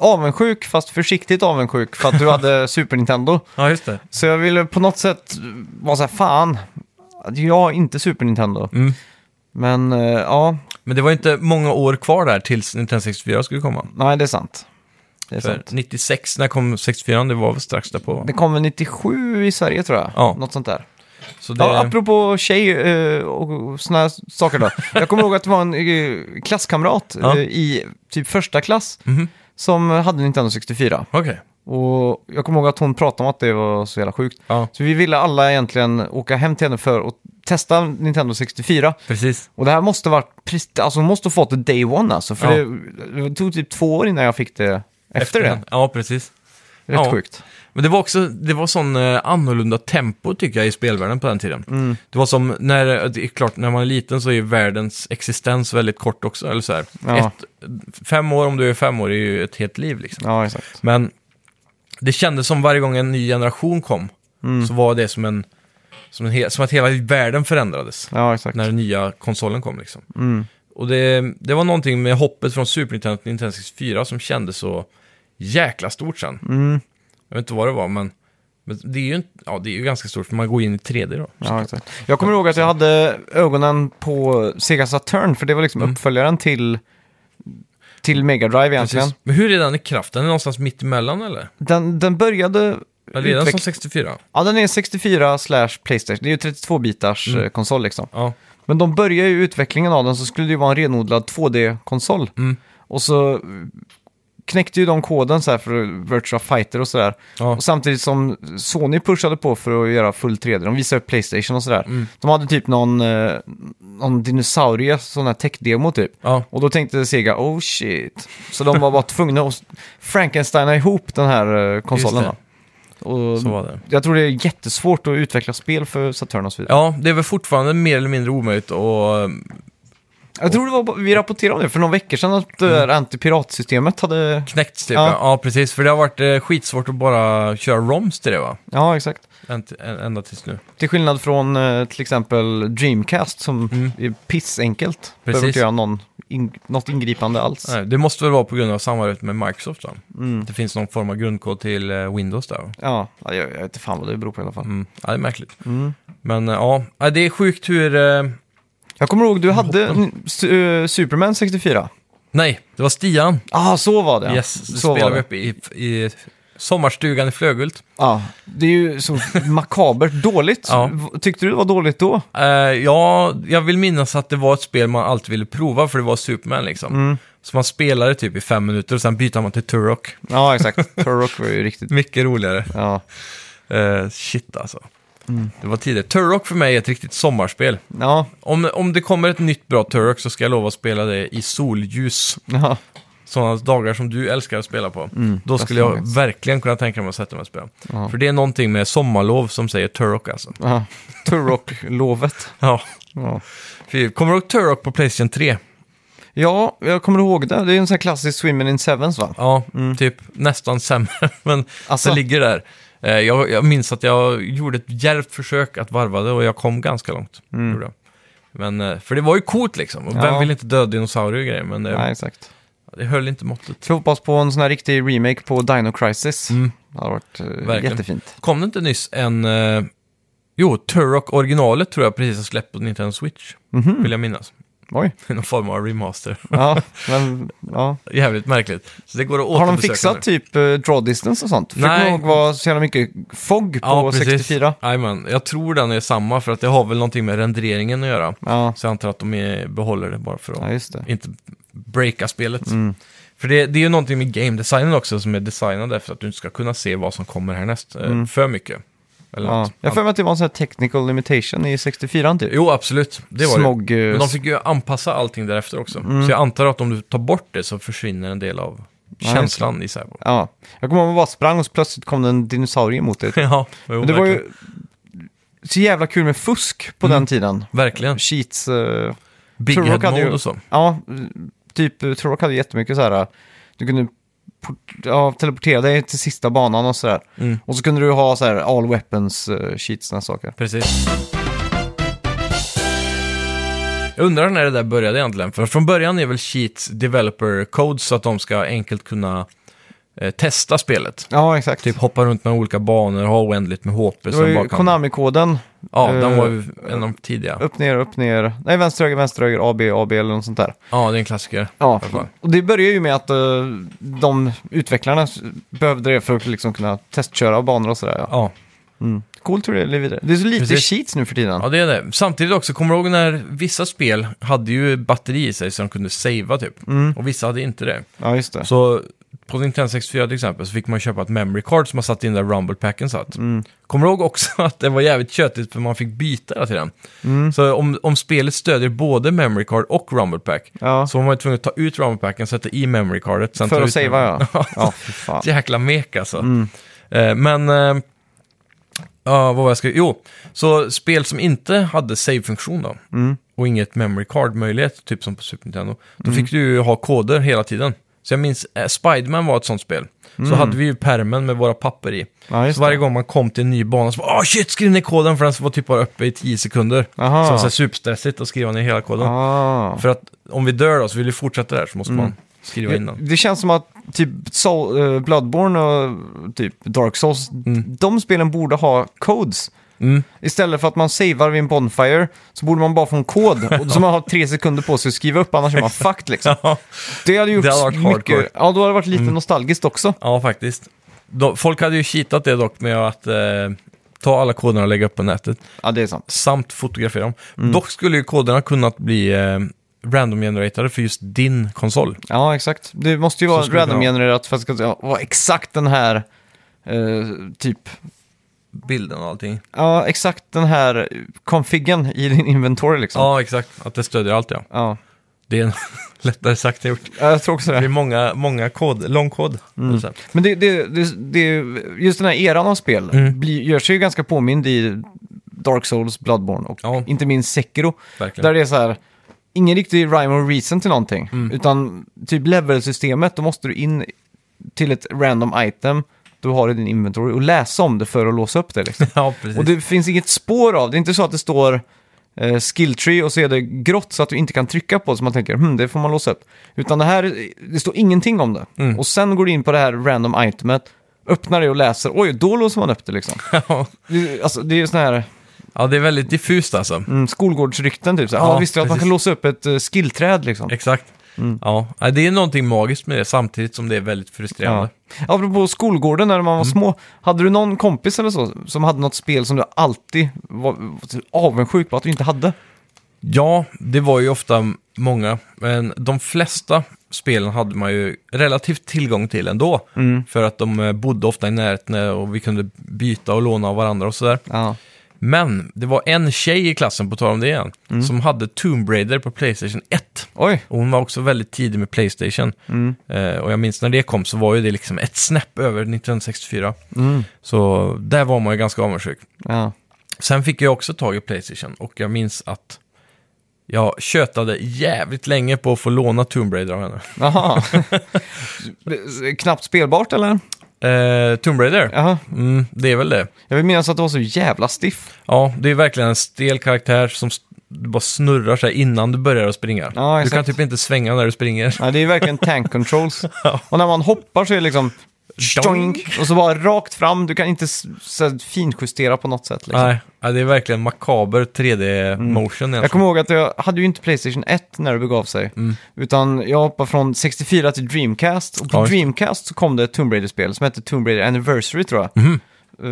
Speaker 1: avundsjuk, fast försiktigt avundsjuk, för att du hade Super Nintendo.
Speaker 2: ja just det.
Speaker 1: Så jag ville på något sätt vara så här, fan, att jag har inte Super Nintendo.
Speaker 2: Mm.
Speaker 1: Men eh, ja,
Speaker 2: Men det var ju inte många år kvar där tills Nintendo 64 skulle komma.
Speaker 1: nej det är sant. Det är
Speaker 2: För
Speaker 1: sant.
Speaker 2: 96, när kom 64? Det var väl strax därpå? va?
Speaker 1: Det kommer 97 i Sverige tror jag.
Speaker 2: Ja.
Speaker 1: Något sånt där.
Speaker 2: Så det,
Speaker 1: Ja, apropå tjej eh, och såna här saker då. Jag kommer ihåg att det var en eh, klasskamrat eh,
Speaker 2: Ja.
Speaker 1: i typ första klass
Speaker 2: Mhm.
Speaker 1: som hade Nintendo 64.
Speaker 2: Okej.
Speaker 1: Och jag kommer ihåg att hon pratade om att det var så jävla sjukt.
Speaker 2: Ja,
Speaker 1: Så vi ville alla egentligen åka hem till henne för att testa Nintendo 64.
Speaker 2: precis.
Speaker 1: Och det här måste varit, precis- alltså hon måste ha fått det day one alltså. För
Speaker 2: Ja.
Speaker 1: det, det tog typ två år innan jag fick det efter, det. Rätt
Speaker 2: Ja, precis. Ja.
Speaker 1: sjukt.
Speaker 2: Men det var också, det var sån eh, annorlunda tempo tycker jag i spelvärlden på den tiden.
Speaker 1: Mm.
Speaker 2: Det var som, när, eh, det är klart när man är liten så är världens existens väldigt kort också, eller så här.
Speaker 1: Ja.
Speaker 2: Ett, fem år, om du är fem år, är ju ett helt liv liksom.
Speaker 1: Ja, exakt.
Speaker 2: Men det kändes som varje gång en ny generation kom,
Speaker 1: Mm.
Speaker 2: så var det som en, som en hel, som att hela världen förändrades.
Speaker 1: Ja, exakt.
Speaker 2: När den nya konsolen kom liksom.
Speaker 1: Mm.
Speaker 2: Och det, det var någonting med hoppet från Super Nintendo till Nintendo 64 som kändes så jäkla stort sen.
Speaker 1: Mm.
Speaker 2: Jag vet inte vad det var, men, men det, är ju inte, ja, det är ju ganska stort för man går in i 3D då.
Speaker 1: Ja, exakt. Jag kommer ihåg att jag hade ögonen på Sega Saturn, för det var liksom
Speaker 2: Mm.
Speaker 1: uppföljaren till, till Mega Drive egentligen.
Speaker 2: Precis. Men hur är den i kraft? Den är någonstans mitt emellan eller?
Speaker 1: Den, den började...
Speaker 2: Eller är den
Speaker 1: utveck-
Speaker 2: som 64?
Speaker 1: Ja, den är 64 slash Playstation. Det är ju 32-bitars
Speaker 2: Mm.
Speaker 1: eh, konsol liksom.
Speaker 2: Ja,
Speaker 1: Men de började ju utvecklingen av den så skulle det ju vara en renodlad 2D-konsol.
Speaker 2: Mm.
Speaker 1: Och så eh, knäckte ju de koden så här för Virtua Fighter och sådär.
Speaker 2: ja.
Speaker 1: Och samtidigt som Sony pushade på för att göra full 3D, de visade upp Playstation och sådär.
Speaker 2: Mm.
Speaker 1: De hade typ någon, eh, någon dinosaurie, sån här tech-demo typ.
Speaker 2: ja.
Speaker 1: Och då tänkte Sega, oh shit. Så de var bara tvungna att Frankensteina ihop den här eh, konsolen.
Speaker 2: Just
Speaker 1: då. Och
Speaker 2: Så var det.
Speaker 1: jag tror det är jättesvårt att utveckla spel för Saturn och så vidare.
Speaker 2: Ja, det är väl fortfarande mer eller mindre omöjligt och... ehm,
Speaker 1: Jag tror det var, vi rapporterade om det för några veckor sedan att det
Speaker 2: Mm.
Speaker 1: där antipiratsystemet hade...
Speaker 2: Knäckts typ, ja.
Speaker 1: Ja.
Speaker 2: ja precis. För det har varit eh, skitsvårt att bara köra ROMs till det va?
Speaker 1: Ja, exakt.
Speaker 2: Änt- ä- Ända tills nu.
Speaker 1: Till skillnad från eh, till exempel Dreamcast som är pissenkelt. Behöver
Speaker 2: Mm. Precis.
Speaker 1: inte göra någon, in, något ingripande alls.
Speaker 2: Nej, det måste väl vara på grund av samarbetet med Microsoft då?
Speaker 1: Mm.
Speaker 2: Det finns någon form av grundkod till eh, Windows där va?
Speaker 1: Ja, jag, jag vet inte fan vad det beror på i alla fall.
Speaker 2: Mm. Ja, det är märkligt. Men eh, ja, Ja, det är sjukt hur... eh,
Speaker 1: Jag kommer ihåg, du hade
Speaker 2: Mm.
Speaker 1: su- eh, Superman 64.
Speaker 2: Nej, det var Stian.
Speaker 1: Ah, så var det.
Speaker 2: Yes, det
Speaker 1: så var
Speaker 2: spelade vi
Speaker 1: det.
Speaker 2: uppe i, i sommarstugan i Flögult.
Speaker 1: Ja, det är ju så makabert dåligt.
Speaker 2: Ja.
Speaker 1: V- Tyckte du det var dåligt då?
Speaker 2: Eh, ja, jag vill minnas att det var ett spel man alltid ville prova för det var Superman liksom.
Speaker 1: Mm.
Speaker 2: Så man spelade typ i fem minuter och sen byter man till Turok.
Speaker 1: Ja, exakt. Turok var ju riktigt...
Speaker 2: Mycket roligare.
Speaker 1: Ja,
Speaker 2: Eh, shit alltså. Det var tidigare. Turok för mig är ett riktigt sommarspel.
Speaker 1: ja,
Speaker 2: Om, om det kommer ett nytt bra Turok så ska jag lova att spela det i solljus.
Speaker 1: ja.
Speaker 2: sådana dagar som du älskar att spela på, då skulle jag
Speaker 1: absolut.
Speaker 2: verkligen kunna tänka mig att sätta mig och spela. För det är någonting med sommarlov som säger Turok alltså.
Speaker 1: ja. Turok-lovet.
Speaker 2: Ja.
Speaker 1: Ja.
Speaker 2: Fy, Kommer du ihåg Turok på Playstation 3?
Speaker 1: ja, jag kommer ihåg det. Det är en sån här klassisk Swimmin' in Sevens va?
Speaker 2: Ja, typ nästan sämre, men
Speaker 1: Alltså.
Speaker 2: det ligger där. Eh, Jag, jag minns att jag gjorde ett djärvt försök att varva det och jag kom ganska långt. Gjorde jag. Men, eh, för det var ju coolt liksom. Och
Speaker 1: Mm. Ja.
Speaker 2: Vem vill inte döda dinosaurier och grejer? Men det,
Speaker 1: Nej, exakt.
Speaker 2: det höll inte måttet.
Speaker 1: Jag hoppas på en sån här riktig remake på Dino Crisis. Det hade varit eh,
Speaker 2: Mm. Verkligen.
Speaker 1: jättefint.
Speaker 2: Kom det inte nyss en... Eh, jo, Turok originalet tror jag precis har släppt på Nintendo Switch.
Speaker 1: Mhm.
Speaker 2: Vill jag minnas.
Speaker 1: Oj.
Speaker 2: Någon form av remaster.
Speaker 1: Ja, men, ja.
Speaker 2: Jävligt märkligt. Så det går att
Speaker 1: Har de
Speaker 2: återbesöka
Speaker 1: fixat
Speaker 2: nu.
Speaker 1: typ eh, draw distance och sånt? För
Speaker 2: Nej.
Speaker 1: Det kommer ihåg var så jävla mycket fogg på 64.
Speaker 2: Jajamän. Jag tror den är samma för att det har väl någonting med renderingen att göra.
Speaker 1: Ja.
Speaker 2: Så jag antar att de är, behåller det bara för att
Speaker 1: ja, just det.
Speaker 2: inte breaka spelet. För det, det är ju någonting med game designen också som är designad efter att du inte ska kunna se vad som kommer härnäst eh, för mycket. Eller
Speaker 1: Mm. Ja.
Speaker 2: något.
Speaker 1: Jag har för mig att det var en sån här technical limitation i 64 typ.
Speaker 2: Jo, absolut. Det var
Speaker 1: Smog, Mm.
Speaker 2: det. Men
Speaker 1: eh,
Speaker 2: de fick ju anpassa allting därefter också. Så jag antar att om du tar bort det så försvinner en del av
Speaker 1: just det.
Speaker 2: känslan i Cyberpunk.
Speaker 1: Ja. Jag kommer ihåg att man bara sprang och så plötsligt kom det en dinosaurie mot dig.
Speaker 2: ja, jo,
Speaker 1: Men det var
Speaker 2: verkligen. Mm.
Speaker 1: ju så jävla kul med fusk på den tiden.
Speaker 2: verkligen.
Speaker 1: Cheats. eh,
Speaker 2: Big
Speaker 1: Turok
Speaker 2: head
Speaker 1: hade ju-
Speaker 2: mode och så.
Speaker 1: Ja, typ eh, Turok hade jättemycket så här. eh, Du kunde port- ja, teleportera dig till sista banan och sådär.
Speaker 2: Mm.
Speaker 1: Och så kunde du ha så här all weapons eh, cheats och saker.
Speaker 2: Precis. Jag undrar när det där började egentligen. För från början är väl cheats developer codes så att de ska enkelt kunna eh, testa spelet.
Speaker 1: Ja, exakt.
Speaker 2: Typ hoppa runt mellan olika banor, ha oändligt med HP.
Speaker 1: det var
Speaker 2: som bara
Speaker 1: ju
Speaker 2: kan...
Speaker 1: Konami-koden.
Speaker 2: Ja, den
Speaker 1: eh,
Speaker 2: var ju en av de tidiga.
Speaker 1: Upp, ner, upp, ner. Nej, vänster, höger, vänster, höger, AB, AB eller något sånt där.
Speaker 2: Ja, det är en klassiker.
Speaker 1: Ja,
Speaker 2: alla fall.
Speaker 1: och det börjar ju med att eh, de utvecklarna s- behövde det för att liksom kunna testköra banor och sådär. Ja.
Speaker 2: Ja,
Speaker 1: Mm. Coolt hur det lever vidare. Det är så lite
Speaker 2: Precis.
Speaker 1: cheats nu för tiden.
Speaker 2: ja det är det. Samtidigt också, kommer du ihåg när vissa spel hade ju batteri i sig så de kunde savea typ.
Speaker 1: Mm.
Speaker 2: Och vissa hade inte det.
Speaker 1: Ja, just det.
Speaker 2: Så på Nintendo 64 till exempel så fick man köpa ett memory card som man satt in där Rumble Packen satt.
Speaker 1: Mm.
Speaker 2: Kommer du ihåg också att det var jävligt tjötigt för man fick byta hela tiden?
Speaker 1: Mm.
Speaker 2: Så om, om spelet stödjer både memory card och Rumble Pack
Speaker 1: Ja.
Speaker 2: så var man ju tvungen att ta ut Rumble Packen, sätta i memory cardet. Sen
Speaker 1: För
Speaker 2: ta
Speaker 1: att
Speaker 2: ut-
Speaker 1: savea, ja. ja, Mm. fy fan.
Speaker 2: Jäkla mek alltså. Eh, men, eh, ja, vad var jag ska... Jo, så spel som inte hade save-funktion då,
Speaker 1: Mm.
Speaker 2: och inget memory card-möjlighet, typ som på Super Nintendo, då
Speaker 1: Mm.
Speaker 2: fick du ju ha koder hela tiden. Så jag minns, eh, Spiderman var ett sånt spel. Så hade vi ju pärmen med våra papper i.
Speaker 1: Mm. Ja, just
Speaker 2: så varje gång man kom till en ny bana så bara, åh shit, skriv ner koden, för den var typ bara uppe i 10 sekunder.
Speaker 1: Aha.
Speaker 2: Så det var så här superstressigt att skriva ner hela koden.
Speaker 1: Ah.
Speaker 2: För att om vi dör då, så vill vi fortsätta där, så måste
Speaker 1: Mm.
Speaker 2: man skriva in den.
Speaker 1: Det känns som att typ Soul, eh, Bloodborne och typ Dark Souls, de spelen borde ha codes.
Speaker 2: Mm.
Speaker 1: Istället för att man savear vid en bonfire så borde man bara få en kod och- som man har tre sekunder på sig att skriva upp, annars är man fucked liksom. Det hade gjort
Speaker 2: Det hade varit hardcore. Mm.
Speaker 1: mycket... Ja, då hade det varit lite nostalgiskt också.
Speaker 2: Ja, faktiskt. De, folk hade ju cheatat det dock med att eh, ta alla koderna och lägga upp på nätet,
Speaker 1: Ja, det är sant.
Speaker 2: samt fotografera dem. Dock skulle ju koderna kunnat bli eh, random-genererade för just din konsol.
Speaker 1: Ja, exakt. Det måste ju vara
Speaker 2: skulle det kunna vara.
Speaker 1: randomgenererat för att det ska vara exakt den här... eh, typ...
Speaker 2: Bilden och allting.
Speaker 1: Ja, exakt den här konfiggen i din inventory liksom.
Speaker 2: Ja, exakt. Att det stödjer allt, ja.
Speaker 1: ja.
Speaker 2: Det är en lättare sagt än gjort. Mm.
Speaker 1: Ja, Jag tror också det.
Speaker 2: Det är många, många kod, lång kod. eller så här.
Speaker 1: Men det, det, det, det, just den här eran av spel
Speaker 2: Mm.
Speaker 1: blir, gör sig ju ganska påmind i Dark Souls, Bloodborne och
Speaker 2: Ja.
Speaker 1: inte minst Sekiro.
Speaker 2: Verkligen.
Speaker 1: Där det är så här, ingen riktig rhyme or reason till någonting.
Speaker 2: Mm.
Speaker 1: Utan typ levelsystemet, då måste du in till ett random item du har i din inventory och läsa om det för att låsa upp det. Liksom.
Speaker 2: Ja, precis.
Speaker 1: och det finns inget spår av det. är inte så att det står eh, skill tree och så är det grått så att du inte kan trycka på det. Så man tänker, hm, det får man låsa upp. Utan det här, det står ingenting om det.
Speaker 2: Mm.
Speaker 1: Och sen går du in på det här random itemet, öppnar det och läser. Oj, då låser man upp det liksom.
Speaker 2: Ja.
Speaker 1: Det- alltså, det är ju sådana här
Speaker 2: ja, det är väldigt diffust alltså.
Speaker 1: mm, skolgårdsrykten typ. Så här,
Speaker 2: Ja,
Speaker 1: ja, visste du att man
Speaker 2: precis.
Speaker 1: kan låsa upp ett eh, skillträd liksom?
Speaker 2: Exakt. Ja, Ja, det är någonting magiskt med det samtidigt som det är väldigt
Speaker 1: Ja.
Speaker 2: frustrerande.
Speaker 1: Apropå skolgården när man
Speaker 2: Mm.
Speaker 1: var små, hade du någon kompis eller så som hade något spel som du alltid var avundsjuk på att du inte hade?
Speaker 2: Ja, det var ju ofta många, men de flesta spelen hade man ju relativt tillgång till ändå. För att de eh, bodde ofta i närheten eh, och vi kunde byta och låna av varandra och sådär.
Speaker 1: Ja.
Speaker 2: Men det var en tjej i klassen, på tal om det igen, som hade Tomb Raider på Playstation 1.
Speaker 1: Oj,
Speaker 2: Och hon var också väldigt tidig med Playstation. Eh, och jag minns när det kom så var ju det liksom ett snäpp över 1964. Så där var man ju ganska avundsjuk.
Speaker 1: ja.
Speaker 2: Sen fick jag också tag i Playstation och jag minns att jag tjötade jävligt länge på att få låna Tomb Raider av henne.
Speaker 1: Jaha. Knappt spelbart eller?
Speaker 2: Eh, Tomb Raider?
Speaker 1: Jaha.
Speaker 2: Mm, det är väl det.
Speaker 1: Jag vill minnas att det var så jävla stiff.
Speaker 2: Ja, det är verkligen en stel karaktär som s- du bara snurrar sig innan du börjar att springa.
Speaker 1: Ja,
Speaker 2: du kan
Speaker 1: exakt.
Speaker 2: typ inte svänga när du springer.
Speaker 1: Ja, det är ju verkligen tank controls. Och när man hoppar så är det liksom... Stoink, och så bara rakt fram, du kan inte s- så här, finjustera på något sätt. Liksom.
Speaker 2: Nej, ja, det är verkligen makaber 3D-motion
Speaker 1: Mm. Jag kommer ihåg att jag hade ju inte Playstation 1 när det begav sig.
Speaker 2: Mm.
Speaker 1: Utan jag hoppade från 64 till Dreamcast. Och på
Speaker 2: Ja, just det.
Speaker 1: Dreamcast så kom det ett Tomb Raider-spel som hette Tomb Raider Anniversary tror jag.
Speaker 2: Mhm.
Speaker 1: Eh,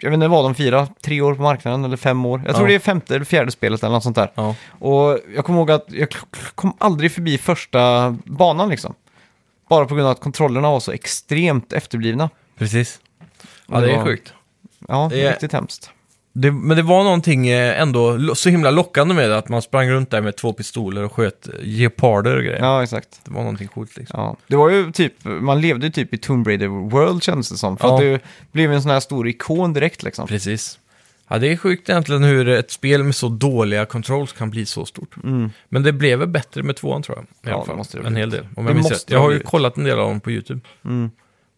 Speaker 1: jag vet inte vad de firar, tre år på marknaden eller fem år. Jag tror
Speaker 2: Ja.
Speaker 1: det är femte eller fjärde spelet eller något sånt där.
Speaker 2: Ja.
Speaker 1: Och jag kommer ihåg att jag k- k- kom aldrig förbi första banan liksom. Bara på grund av att kontrollerna var så extremt efterblivna.
Speaker 2: Precis. Ja, det är
Speaker 1: Ja.
Speaker 2: sjukt.
Speaker 1: Ja,
Speaker 2: Det är-
Speaker 1: riktigt hemskt.
Speaker 2: Det, men det var någonting eh, ändå lo- så himla lockande med det, att man sprang runt där med två pistoler och sköt eh, geparder och grejer.
Speaker 1: Ja, exakt.
Speaker 2: Det var någonting coolt liksom.
Speaker 1: Ja. Det var ju typ, man levde ju typ i Tomb Raider World kändes det som. För
Speaker 2: Ja.
Speaker 1: att du blev en sån här stor ikon direkt liksom.
Speaker 2: Precis. Ja, det är sjukt egentligen hur ett spel med så dåliga controls kan bli så stort. Men det blev väl bättre med tvåan tror jag. I
Speaker 1: Mm. Ja,
Speaker 2: alla
Speaker 1: det
Speaker 2: fall.
Speaker 1: måste det ha
Speaker 2: en
Speaker 1: blivit.
Speaker 2: hel del, om
Speaker 1: Det
Speaker 2: jag minns
Speaker 1: måste
Speaker 2: rätt.
Speaker 1: det
Speaker 2: Jag
Speaker 1: ha
Speaker 2: har ju
Speaker 1: blivit. Mm.
Speaker 2: kollat en del av dem på YouTube.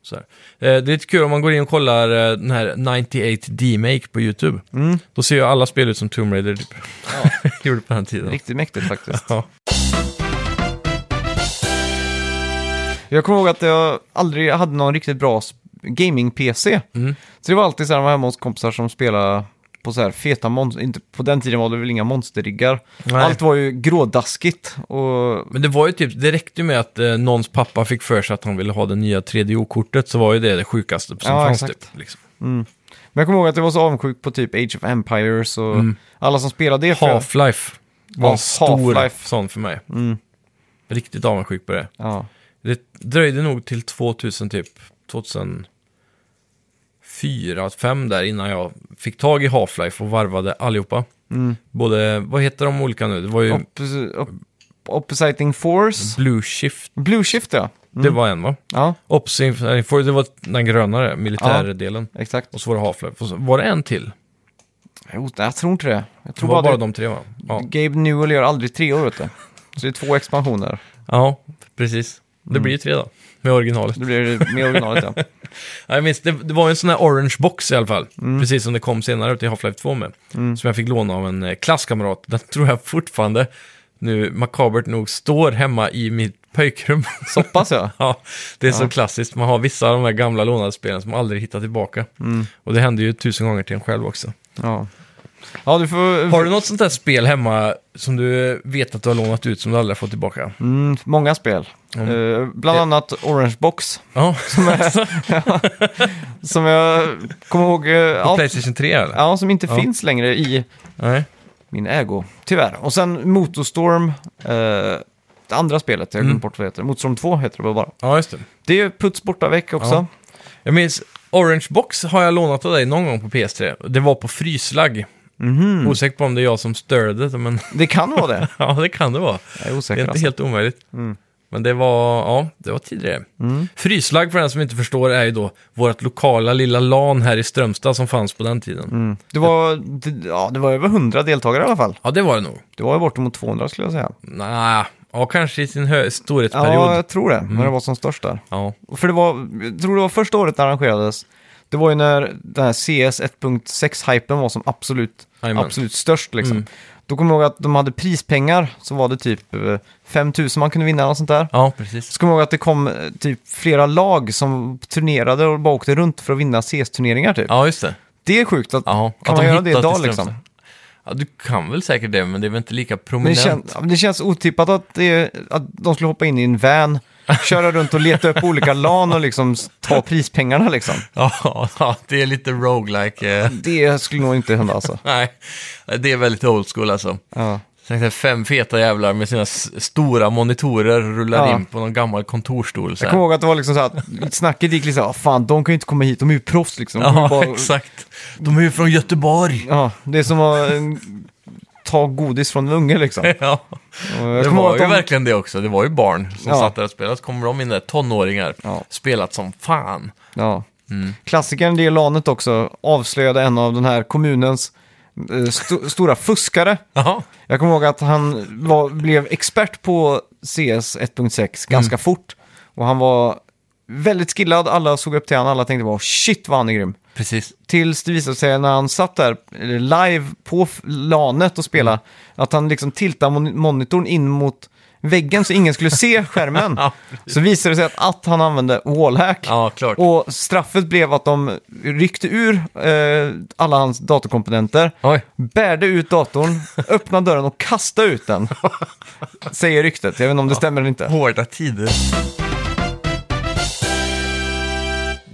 Speaker 2: Så här. Eh, Det är lite kul om man går in och kollar eh, den här 98 D-Make på YouTube.
Speaker 1: Mm.
Speaker 2: Då ser ju alla spel ut som Tomb Raider typ. Gjorde på den tiden.
Speaker 1: Riktigt mäktigt faktiskt.
Speaker 2: Ja.
Speaker 1: Jag kommer ihåg att jag aldrig hade någon riktigt bra sp- gaming-PC.
Speaker 2: Mm.
Speaker 1: Så det var alltid så här, man var hemma hos kompisar som spelade på så här feta monster, inte på den tiden var det väl inga monsterriggar.
Speaker 2: Nej.
Speaker 1: Allt var ju grådaskigt och
Speaker 2: Men det var ju typ, det räckte ju med att eh, någons pappa fick för sig att han ville ha det nya 3DO-kortet så var ju det det sjukaste som
Speaker 1: Ja,
Speaker 2: fanns
Speaker 1: exakt.
Speaker 2: typ. Liksom.
Speaker 1: Men jag kommer ihåg att jag var så avundsjuk på typ Age of Empires och alla som spelade det. för-
Speaker 2: Half-Life var
Speaker 1: Ja,
Speaker 2: en stor
Speaker 1: Half-Life. Mm.
Speaker 2: sån för mig. Riktigt avundsjuk på det.
Speaker 1: ja.
Speaker 2: Det dröjde nog till 2000 typ, 2004, 2005 där innan jag fick tag i Half-Life och varvade allihopa.
Speaker 1: Mm.
Speaker 2: Både, vad heter de olika nu? Det var ju
Speaker 1: Oppos- op- Oppositing Force.
Speaker 2: Blue Shift,
Speaker 1: Blue Shift ja.
Speaker 2: det var en va?
Speaker 1: Ja,
Speaker 2: Ops, Inf- det var den grönare, militärdelen.
Speaker 1: exakt.
Speaker 2: Och så var det Half-Life. Och så var det en till?
Speaker 1: Jo, oh, jag tror inte det. Mm. Jag
Speaker 2: Det
Speaker 1: tror
Speaker 2: var
Speaker 1: bara,
Speaker 2: bara
Speaker 1: bara
Speaker 2: de tre va? Ja,
Speaker 1: Gabe Newell gör aldrig tre år vet du. Så det är två expansioner.
Speaker 2: ja precis. Det blir
Speaker 1: Mm.
Speaker 2: ju tre då, med originalet.
Speaker 1: Det blir det med originalet ja.
Speaker 2: Ja, Jag minns, det, det var ju en sån här orange box i alla fall. Precis som det kom senare till Half-Life 2 med. Som jag fick låna av en eh, klasskamrat. Den tror jag fortfarande, nu makabert nog, står hemma i mitt pojkrum.
Speaker 1: Så pass ja.
Speaker 2: ja, det är så klassiskt. Man har vissa av de här gamla lånade spelen som man aldrig hittar tillbaka.
Speaker 1: Mm.
Speaker 2: Och det händer ju tusen gånger till en själv också.
Speaker 1: Ja, ja du får...
Speaker 2: Har du något sånt där spel hemma som du vet att du har lånat ut som du aldrig har fått tillbaka?
Speaker 1: Mm, många spel. Eh, bland
Speaker 2: Det-
Speaker 1: annat Orange Box.
Speaker 2: Ja,
Speaker 1: Som jag kommer ihåg... eh,
Speaker 2: på
Speaker 1: ja,
Speaker 2: Playstation 3 eller?
Speaker 1: ja, som inte
Speaker 2: Ja.
Speaker 1: finns längre i
Speaker 2: Nej.
Speaker 1: min ägo, tyvärr. Och sen Motorstorm, eh, det andra spelet, jag
Speaker 2: Mm.
Speaker 1: har glömt bort vad det heter. Motorstorm 2 heter det väl bara.
Speaker 2: Ja, just det.
Speaker 1: Det är Puts borta veck också.
Speaker 2: Jag minns, Orange Box har jag lånat av dig någon gång på PS3. Det var på fryslagg.
Speaker 1: Mhm.
Speaker 2: Osäker på om det är jag som störde det, men
Speaker 1: Det kan vara det.
Speaker 2: ja, det kan det vara.
Speaker 1: Jag är
Speaker 2: Det är
Speaker 1: osäker.
Speaker 2: inte
Speaker 1: alltså.
Speaker 2: helt omöjligt. Men det var, ja, det var tidigare.
Speaker 1: Mm.
Speaker 2: Fryslagg, för den som inte förstår, är ju då vårt lokala lilla LAN här i Strömstad som fanns på den tiden.
Speaker 1: Det, var, det, ja, det var över 100 deltagare i alla fall.
Speaker 2: Ja, det var det nog.
Speaker 1: Det var ju bortemot 200 skulle jag säga.
Speaker 2: Nah, ja, kanske i sin hö- storhetsperiod.
Speaker 1: Ja,
Speaker 2: Ja,
Speaker 1: jag tror det,
Speaker 2: Mm.
Speaker 1: när det var som störst där.
Speaker 2: ja.
Speaker 1: Och För det var, jag tror det var första året det arrangerades. Det var ju när den här CS 1.6-hypen var som absolut,
Speaker 2: Jajamän.
Speaker 1: absolut störst liksom.
Speaker 2: Mm.
Speaker 1: Då kommer jag ihåg att de hade prispengar, så var det typ eh, 5 000 man kunde vinna och sånt där.
Speaker 2: precis.
Speaker 1: Så kommer jag ihåg att det kom eh, typ flera lag som turnerade och bara åkte runt för att vinna CS-turneringar typ.
Speaker 2: Ja, just det.
Speaker 1: Det är sjukt att,
Speaker 2: Ja,
Speaker 1: kan
Speaker 2: att
Speaker 1: man
Speaker 2: de
Speaker 1: göra det
Speaker 2: hittat till
Speaker 1: idag
Speaker 2: Strömstad.
Speaker 1: liksom?
Speaker 2: Ja, du kan väl säkert det, men det är väl inte lika
Speaker 1: Men det,
Speaker 2: prominent.
Speaker 1: kän, ja, men det känns otippat att, det, att de skulle hoppa in i en van, köra runt och leta upp olika LAN och liksom s- ta prispengarna liksom.
Speaker 2: Ja, ja, det är lite roguelike. eh.
Speaker 1: Det skulle nog inte hända alltså.
Speaker 2: Nej, det är väldigt old school alltså.
Speaker 1: Ja,
Speaker 2: Tänkte Fem feta jävlar med sina s- stora monitorer rullar
Speaker 1: Ja.
Speaker 2: in på någon gammal kontorsstol. Så
Speaker 1: jag
Speaker 2: här.
Speaker 1: kommer ihåg att det var liksom så att snacket gick lite så här, "Ah, fan de kan ju inte komma hit, de är ju proffs liksom. De kommer
Speaker 2: Ja,
Speaker 1: bara-
Speaker 2: exakt. De är ju från Göteborg.
Speaker 1: ja, det är som att eh, ta godis från en unge liksom.
Speaker 2: Ja,
Speaker 1: Och jag
Speaker 2: det
Speaker 1: kommer ihåg
Speaker 2: var
Speaker 1: att
Speaker 2: ju
Speaker 1: de-
Speaker 2: verkligen det också. Det var ju barn som
Speaker 1: Ja.
Speaker 2: satt där och spelade. Så kommer de in där, tonåringar,
Speaker 1: Ja.
Speaker 2: spelat som fan.
Speaker 1: Ja.
Speaker 2: Mm.
Speaker 1: Klassikern det lanet också avslöjade en av den här kommunens eh, sto- stora fuskare.
Speaker 2: Jaha,
Speaker 1: Jag kommer ihåg att han
Speaker 2: Mm.
Speaker 1: var, blev expert på CS 1.6 ganska fort. Och han var väldigt skillad, alla såg upp till honom, alla tänkte bara shit vad han är grym.
Speaker 2: Precis.
Speaker 1: Tills det visade sig när han satt där eh, live på f- lanet och
Speaker 2: Mm.
Speaker 1: spelade, att han liksom tiltade mon- monitorn in mot väggen så ingen skulle se skärmen.
Speaker 2: Ja,
Speaker 1: så visade det sig att, att han använde wallhack.
Speaker 2: Ja, klart.
Speaker 1: Och straffet blev att de ryckte ur eh, alla hans datorkomponenter,
Speaker 2: Oj.
Speaker 1: bärde ut datorn, öppnade dörren och kastade ut den. Säger ryktet, jag vet inte om det stämmer eller inte.
Speaker 2: Hårda tider.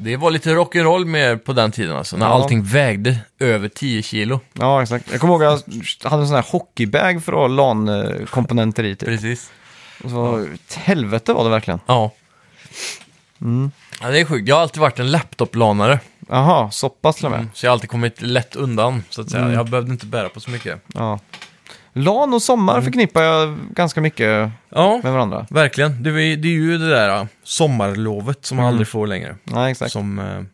Speaker 2: Det var lite rock'n'roll med på den tiden alltså, när
Speaker 1: Ja.
Speaker 2: allting vägde över 10 kilo.
Speaker 1: Ja, exakt. Jag kommer ihåg att jag hade en sån här hockeybag för att ha LAN-komponenter i. Typ.
Speaker 2: Precis.
Speaker 1: Och Så, helvete var det verkligen.
Speaker 2: Ja. ja. Det är sjukt. Jag har alltid varit en laptop-lanare.
Speaker 1: Jaha, så pass till och med.
Speaker 2: Så jag har alltid kommit lätt undan, så att säga.
Speaker 1: Mm.
Speaker 2: Jag behövde inte bära på så mycket.
Speaker 1: Ja. LAN och sommar förknippar jag ganska mycket
Speaker 2: Ja,
Speaker 1: med varandra.
Speaker 2: verkligen. Det är, det är ju det där ja, sommarlovet som man aldrig får längre.
Speaker 1: Nej, Mm. exakt. Mm.
Speaker 2: Som, eh,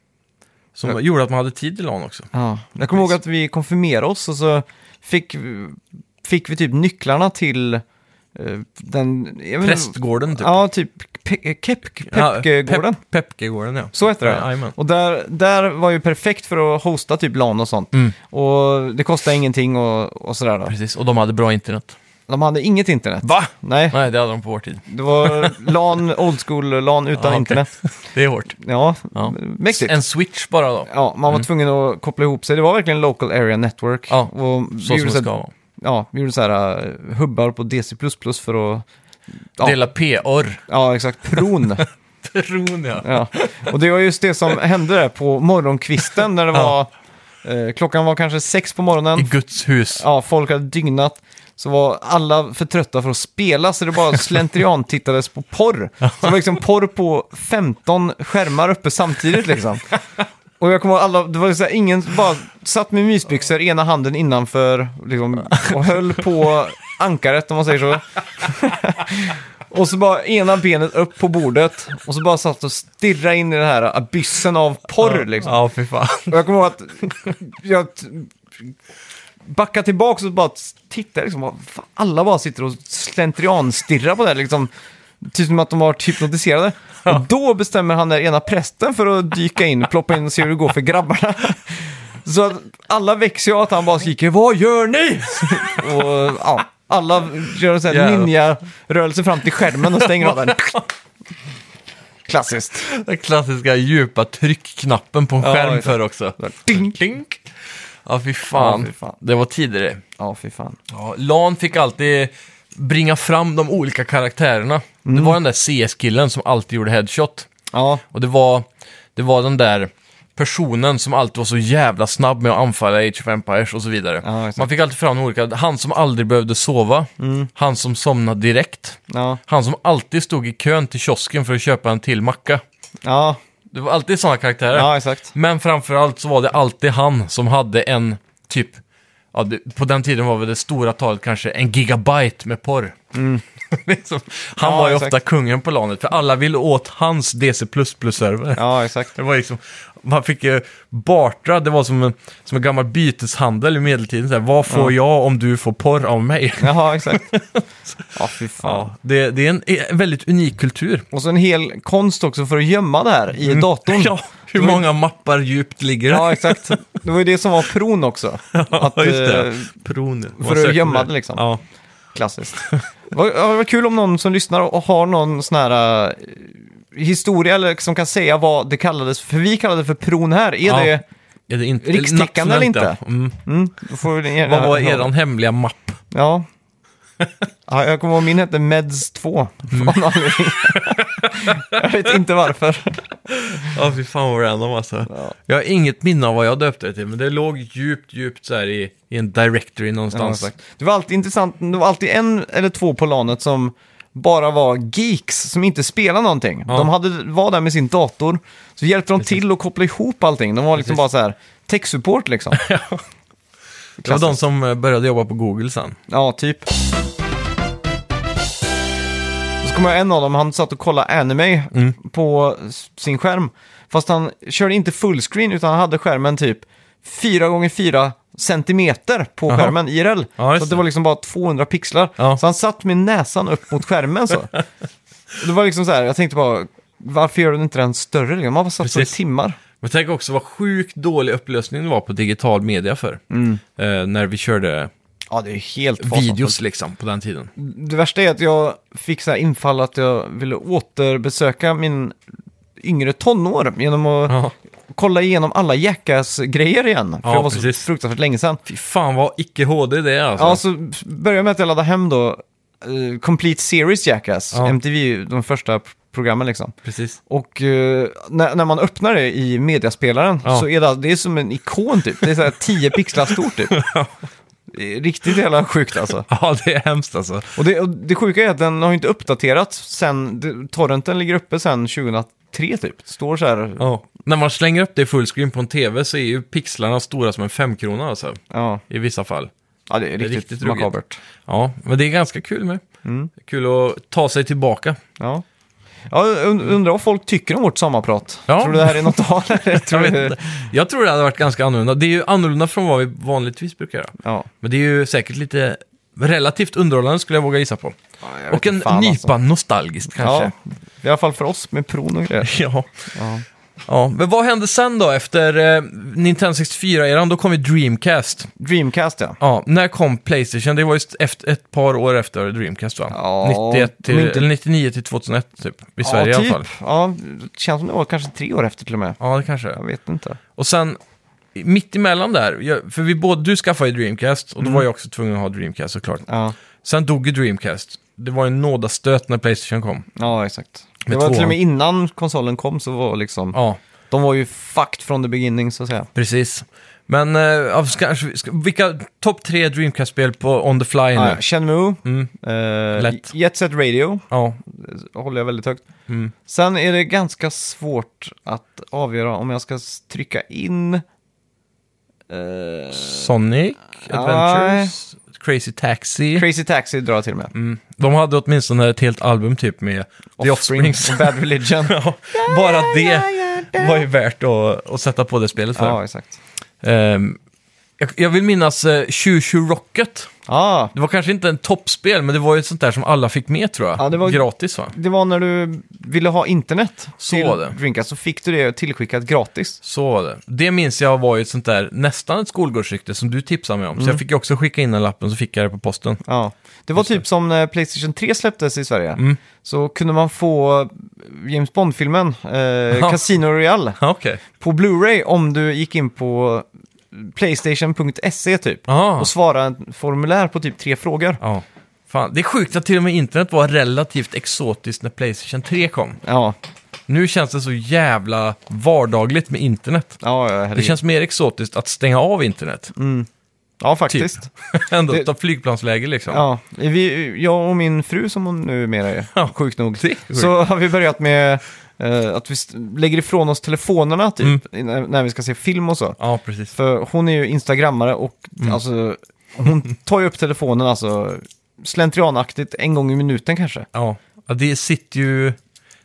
Speaker 2: som gjorde att man hade tid i LAN också.
Speaker 1: Ja. Jag kommer ihåg att vi konfirmerade oss och så fick, fick vi typ nycklarna till eh, den... jag vet-
Speaker 2: Prästgården typ.
Speaker 1: Ja, typ Pe- Kepk- Pepkegården.
Speaker 2: Ja, Pep- Pepkegården, ja.
Speaker 1: Så heter det.
Speaker 2: Jajamän.
Speaker 1: Och där, där var ju perfekt för att hosta typ LAN och sånt.
Speaker 2: Mm.
Speaker 1: Och det kostade ingenting och, och sådär. Då.
Speaker 2: Precis, och de hade bra internet.
Speaker 1: De hade inget internet.
Speaker 2: Va?
Speaker 1: Nej,
Speaker 2: Nej, det hade de på vår tid.
Speaker 1: det var LAN, old school LAN utan
Speaker 2: Ja, okej.
Speaker 1: internet.
Speaker 2: Det är hårt.
Speaker 1: Ja,
Speaker 2: Ja.
Speaker 1: mäktigt.
Speaker 2: En switch bara då.
Speaker 1: Ja, man var tvungen att koppla ihop sig. Det var verkligen local area network.
Speaker 2: Ja,
Speaker 1: och
Speaker 2: Så som det
Speaker 1: så här-
Speaker 2: ska vara.
Speaker 1: Ja, vi gjorde så här eh, hubbar på DC++ för att... Ja.
Speaker 2: Dela PR.
Speaker 1: Ja, exakt. Pron.
Speaker 2: Tron, ja.
Speaker 1: ja. Och det var just det som hände där på morgonkvisten när det var...
Speaker 2: Ja.
Speaker 1: Eh, klockan var kanske sex på morgonen.
Speaker 2: I Guds hus.
Speaker 1: Ja, folk hade dygnat. Så var alla för trötta för att spela, så det bara slentrian tittades på porr. Så det var liksom porr på 15 skärmar uppe samtidigt liksom. Och jag kommer ihåg alla, det var så här, ingen bara satt med mysbyxor, ena handen innanför liksom, och höll på ankaret om man säger så. Och så bara ena benet upp på bordet och så bara satt och stirra in i den här abyssen av porr liksom.
Speaker 2: Ja, fy fan.
Speaker 1: Och jag kommer ihåg att jag t- backade tillbaka och bara tittade liksom. och fan, Alla bara sitter och slentrianstirrar på det här liksom. Typ som att de har varit hypnotiserade. Och då bestämmer han den ena prästen för att dyka in, ploppa in och se hur det går för grabbarna. Så att alla växer ju av att han bara skriker ”Vad gör ni?” Och ja, alla gör en sån här
Speaker 2: Jävlar.
Speaker 1: ninja-rörelse fram till skärmen och stänger av den. Klassiskt.
Speaker 2: Den klassiska djupa tryckknappen på en
Speaker 1: Ja,
Speaker 2: skärm
Speaker 1: exakt.
Speaker 2: för också.
Speaker 1: Ding.
Speaker 2: Klink. Ja, fy fan.
Speaker 1: Ja, fy fan.
Speaker 2: Det var tider det.
Speaker 1: Ja, fy fan.
Speaker 2: Ja, LAN fick alltid bringa fram de olika karaktärerna. Det var den där CS-killen som alltid gjorde headshot.
Speaker 1: Ja,
Speaker 2: Och det var, det var den där personen som alltid var så jävla snabb med att anfalla Age of Empires och så vidare.
Speaker 1: Ja, exakt. Mm.
Speaker 2: Man fick alltid fram de olika, han som aldrig behövde sova, han som somnade direkt,
Speaker 1: ja,
Speaker 2: han som alltid stod i kön till kiosken för att köpa en till macka.
Speaker 1: ja,
Speaker 2: Det var alltid sådana karaktärer.
Speaker 1: ja exakt.
Speaker 2: Men framförallt så var det alltid han som hade en typ, ja, det, på den tiden var väl det stora talet kanske en gigabyte med porr. liksom, han
Speaker 1: Mm. Ja,
Speaker 2: var ju
Speaker 1: exakt.
Speaker 2: ofta kungen på LANet, för alla ville åt hans DC++-server. -server.
Speaker 1: Ja, exakt.
Speaker 2: Det var liksom, man fick ju bartra, det var som en, som en gammal byteshandel i medeltiden. Så här, vad får jag om du får porr av mig?
Speaker 1: Jaha, exakt. Ja, fy fan.
Speaker 2: Ja, det, det är en, en väldigt unik kultur.
Speaker 1: Och så en hel konst också för att gömma det här i datorn.
Speaker 2: Mm. Ja, hur många mappar djupt ligger det?
Speaker 1: Ja, exakt. Det var ju det som var pron också. Att,
Speaker 2: Ja, just
Speaker 1: eh,
Speaker 2: det. Pron. Man
Speaker 1: att
Speaker 2: söker
Speaker 1: gömma
Speaker 2: där.
Speaker 1: det liksom.
Speaker 2: Ja.
Speaker 1: Klassiskt. Det var, ja, det var kul om någon som lyssnar och har någon sån här eh, historia eller som kan säga vad det kallades för. Vi kallade det för pron här. Är
Speaker 2: Ja.
Speaker 1: det...
Speaker 2: Är det inte
Speaker 1: Rikstäckande eller inte?
Speaker 2: nationellt, ja. Mm.
Speaker 1: Mm, då får vi gärna-
Speaker 2: Vad var eran hemliga mapp?
Speaker 1: Ja. ja. Jag kommer ihåg min hette Meds 2. Av någon anledning. jag vet inte varför.
Speaker 2: Ja, fy fan vad random alltså. Jag har inget minne av vad jag döpte det till, men det låg djupt, djupt så här i, i en directory
Speaker 1: Ja,
Speaker 2: någonstans.
Speaker 1: exakt. Det var alltid intressant, det var alltid en eller två på lanet som bara var geeks som inte spelade någonting.
Speaker 2: Ja.
Speaker 1: De hade, var där med sin dator, så hjälpte de till att koppla ihop allting. De var liksom
Speaker 2: Precis.
Speaker 1: bara så här, tech-support liksom.
Speaker 2: det var de
Speaker 1: Klassiskt.
Speaker 2: som eh, började jobba på Google sen.
Speaker 1: Ja, typ. Och Så kommer jag en av dem, han satt och kollade anime
Speaker 2: Mm.
Speaker 1: på s- sin skärm. Fast han körde inte fullscreen utan han hade skärmen typ 4 gånger 4 centimeter på
Speaker 2: Jaha.
Speaker 1: skärmen IRL.
Speaker 2: Ja, just
Speaker 1: så att det
Speaker 2: det.
Speaker 1: var liksom bara 200 pixlar.
Speaker 2: Ja.
Speaker 1: Så han satt med näsan upp mot skärmen så. Och det var liksom så här, jag tänkte bara, varför gör den inte den större? liksom? Man har satt på det
Speaker 2: Precis.
Speaker 1: timmar.
Speaker 2: Men tänk också vad sjukt dålig upplösning det var på digital media för.
Speaker 1: Mm.
Speaker 2: Eh, när vi körde
Speaker 1: Ja, det är helt
Speaker 2: videos liksom på den tiden.
Speaker 1: Det värsta är att jag fick så här infall att jag ville återbesöka min yngre tonår genom att
Speaker 2: Ja.
Speaker 1: kolla igenom alla Jackass-grejer igen. För
Speaker 2: Ja,
Speaker 1: det var
Speaker 2: precis.
Speaker 1: så fruktansvärt länge sedan.
Speaker 2: Fy fan vad icke HD det är alltså.
Speaker 1: Ja, så började jag med att jag laddade hem då eh, Complete Series Jackass,
Speaker 2: Ja.
Speaker 1: MTV, de första p- programmen liksom.
Speaker 2: Precis.
Speaker 1: Och eh, när, när man öppnar det i mediaspelaren
Speaker 2: Ja.
Speaker 1: så är det, det är som en ikon typ. Det är så här 10 pixlar stort typ. Det är Riktigt jävla sjukt alltså.
Speaker 2: Ja, det är hemskt alltså.
Speaker 1: Och det, och det sjuka är att den har ju inte uppdaterats sen, det, torrenten ligger uppe sen 2003 typ. Står så här,
Speaker 2: Ja. När man slänger upp det i fullscreen på en TV så är ju pixlarna stora som en femkrona alltså.
Speaker 1: ja.
Speaker 2: I vissa fall.
Speaker 1: ja, det är
Speaker 2: är
Speaker 1: riktigt,
Speaker 2: riktigt ruggigt.
Speaker 1: makabert.
Speaker 2: Ja, men det är ganska kul med.
Speaker 1: Mm.
Speaker 2: Kul att ta sig tillbaka.
Speaker 1: Ja. Ja, und- undrar vad folk tycker om vårt sommarprat.
Speaker 2: Ja.
Speaker 1: Tror du det här är något att ha? eller tror
Speaker 2: Jag,
Speaker 1: du-
Speaker 2: vet, inte. jag tror det hade varit ganska annorlunda. Det är ju annorlunda från vad vi vanligtvis brukar göra.
Speaker 1: Ja.
Speaker 2: Men det är ju säkert lite relativt underhållande skulle jag våga gissa på.
Speaker 1: jag vet
Speaker 2: och en
Speaker 1: inte fan,
Speaker 2: nypa
Speaker 1: alltså.
Speaker 2: nostalgiskt
Speaker 1: ja,
Speaker 2: kanske.
Speaker 1: i alla fall för oss med pron och grejer.
Speaker 2: Ja. ja.
Speaker 1: Ja.
Speaker 2: men vad hände sen då efter eh, Nintendo 64-eran? Då kom ju Dreamcast.
Speaker 1: Dreamcast ja.
Speaker 2: Ja, när kom Playstation? Det var ju efter, ett par år efter Dreamcast va?
Speaker 1: Ja,
Speaker 2: 91 till,
Speaker 1: men inte-
Speaker 2: eller 99 till 2001 typ. I Sverige
Speaker 1: ja,
Speaker 2: i alla fall.
Speaker 1: Ja, det känns som det var kanske tre år efter till och med.
Speaker 2: Ja, det kanske är.
Speaker 1: Jag vet inte.
Speaker 2: Och sen, i- mitt emellan där, jag- för vi båda, du skaffade ju Dreamcast
Speaker 1: Mm.
Speaker 2: och då var jag också tvungen att ha Dreamcast såklart.
Speaker 1: Ja,
Speaker 2: Sen dog ju Dreamcast. Det var ju en nådastöt när Playstation kom.
Speaker 1: ja exakt.
Speaker 2: Med
Speaker 1: det var till
Speaker 2: tvåan.
Speaker 1: och med innan konsolen kom så var liksom,
Speaker 2: Ja,
Speaker 1: de var ju fucked från the beginning så att säga.
Speaker 2: precis. Men eh, av- ska, ska, vilka topp tre Dreamcast-spel på On the Fly nu?
Speaker 1: Ah, ja. Shenmue,
Speaker 2: Mm.
Speaker 1: eh,
Speaker 2: Lätt.
Speaker 1: Jet Set Radio
Speaker 2: Ja,
Speaker 1: eh, håller jag väldigt högt.
Speaker 2: Mm.
Speaker 1: Sen är det ganska svårt att avgöra om jag ska s- trycka in... eh,
Speaker 2: Sonic Adventures, Crazy Taxi.
Speaker 1: Crazy Taxi drar jag till med.
Speaker 2: Mm. De hade åtminstone ett helt album typ med The Offsprings.
Speaker 1: och Bad Religion.
Speaker 2: Ja, Bara det var ju värt att, att sätta på det spelet för.
Speaker 1: ja, exakt.
Speaker 2: Ehm, jag, jag vill minnas eh, Shoo Shoo Rocket.
Speaker 1: Ah,
Speaker 2: Det var kanske inte en toppspel, men det var ju ett sånt där som alla fick med tror jag.
Speaker 1: Ja, det var-
Speaker 2: Gratis va?
Speaker 1: det var när du ville ha internet
Speaker 2: Så
Speaker 1: till
Speaker 2: var det.
Speaker 1: Dreamcast, så fick du det tillskickat gratis.
Speaker 2: Så var det. Det minns jag var ju ett sånt där, nästan ett skolgårdsrykte som du tipsade mig om. Så jag fick ju också skicka in en lappen så fick jag det på posten.
Speaker 1: Ja. Det var typ som när Playstation 3 släpptes i Sverige.
Speaker 2: Mm.
Speaker 1: Så kunde man få James Bond-filmen, eh,
Speaker 2: Ja.
Speaker 1: Casino Royale,
Speaker 2: Ja, okej.
Speaker 1: på Blu-ray om du gick in på Playstation.se typ.
Speaker 2: Ah.
Speaker 1: Och svara ett formulär på typ tre frågor.
Speaker 2: Ja. Fan, det är sjukt att till och med internet var relativt exotiskt när Playstation 3 kom.
Speaker 1: Ja,
Speaker 2: Nu känns det så jävla vardagligt med internet.
Speaker 1: ja, ja,
Speaker 2: Det
Speaker 1: herregud.
Speaker 2: känns mer exotiskt att stänga av internet.
Speaker 1: ja faktiskt.
Speaker 2: typ, Ändå
Speaker 1: Det-
Speaker 2: ta flygplansläge liksom.
Speaker 1: Ja, vi, jag och min fru som hon numera
Speaker 2: Ja.
Speaker 1: är, sjukt nog,
Speaker 2: Det är sjukt.
Speaker 1: så har vi börjat med eh, att vi st- lägger ifrån oss telefonerna
Speaker 2: Mm.
Speaker 1: typ, när, när vi ska se film och så.
Speaker 2: ja precis.
Speaker 1: För hon är ju instagrammare och
Speaker 2: Mm.
Speaker 1: alltså, hon tar ju upp telefonen alltså slentrianaktigt en gång i minuten kanske.
Speaker 2: Ja, Ja, det sitter ju...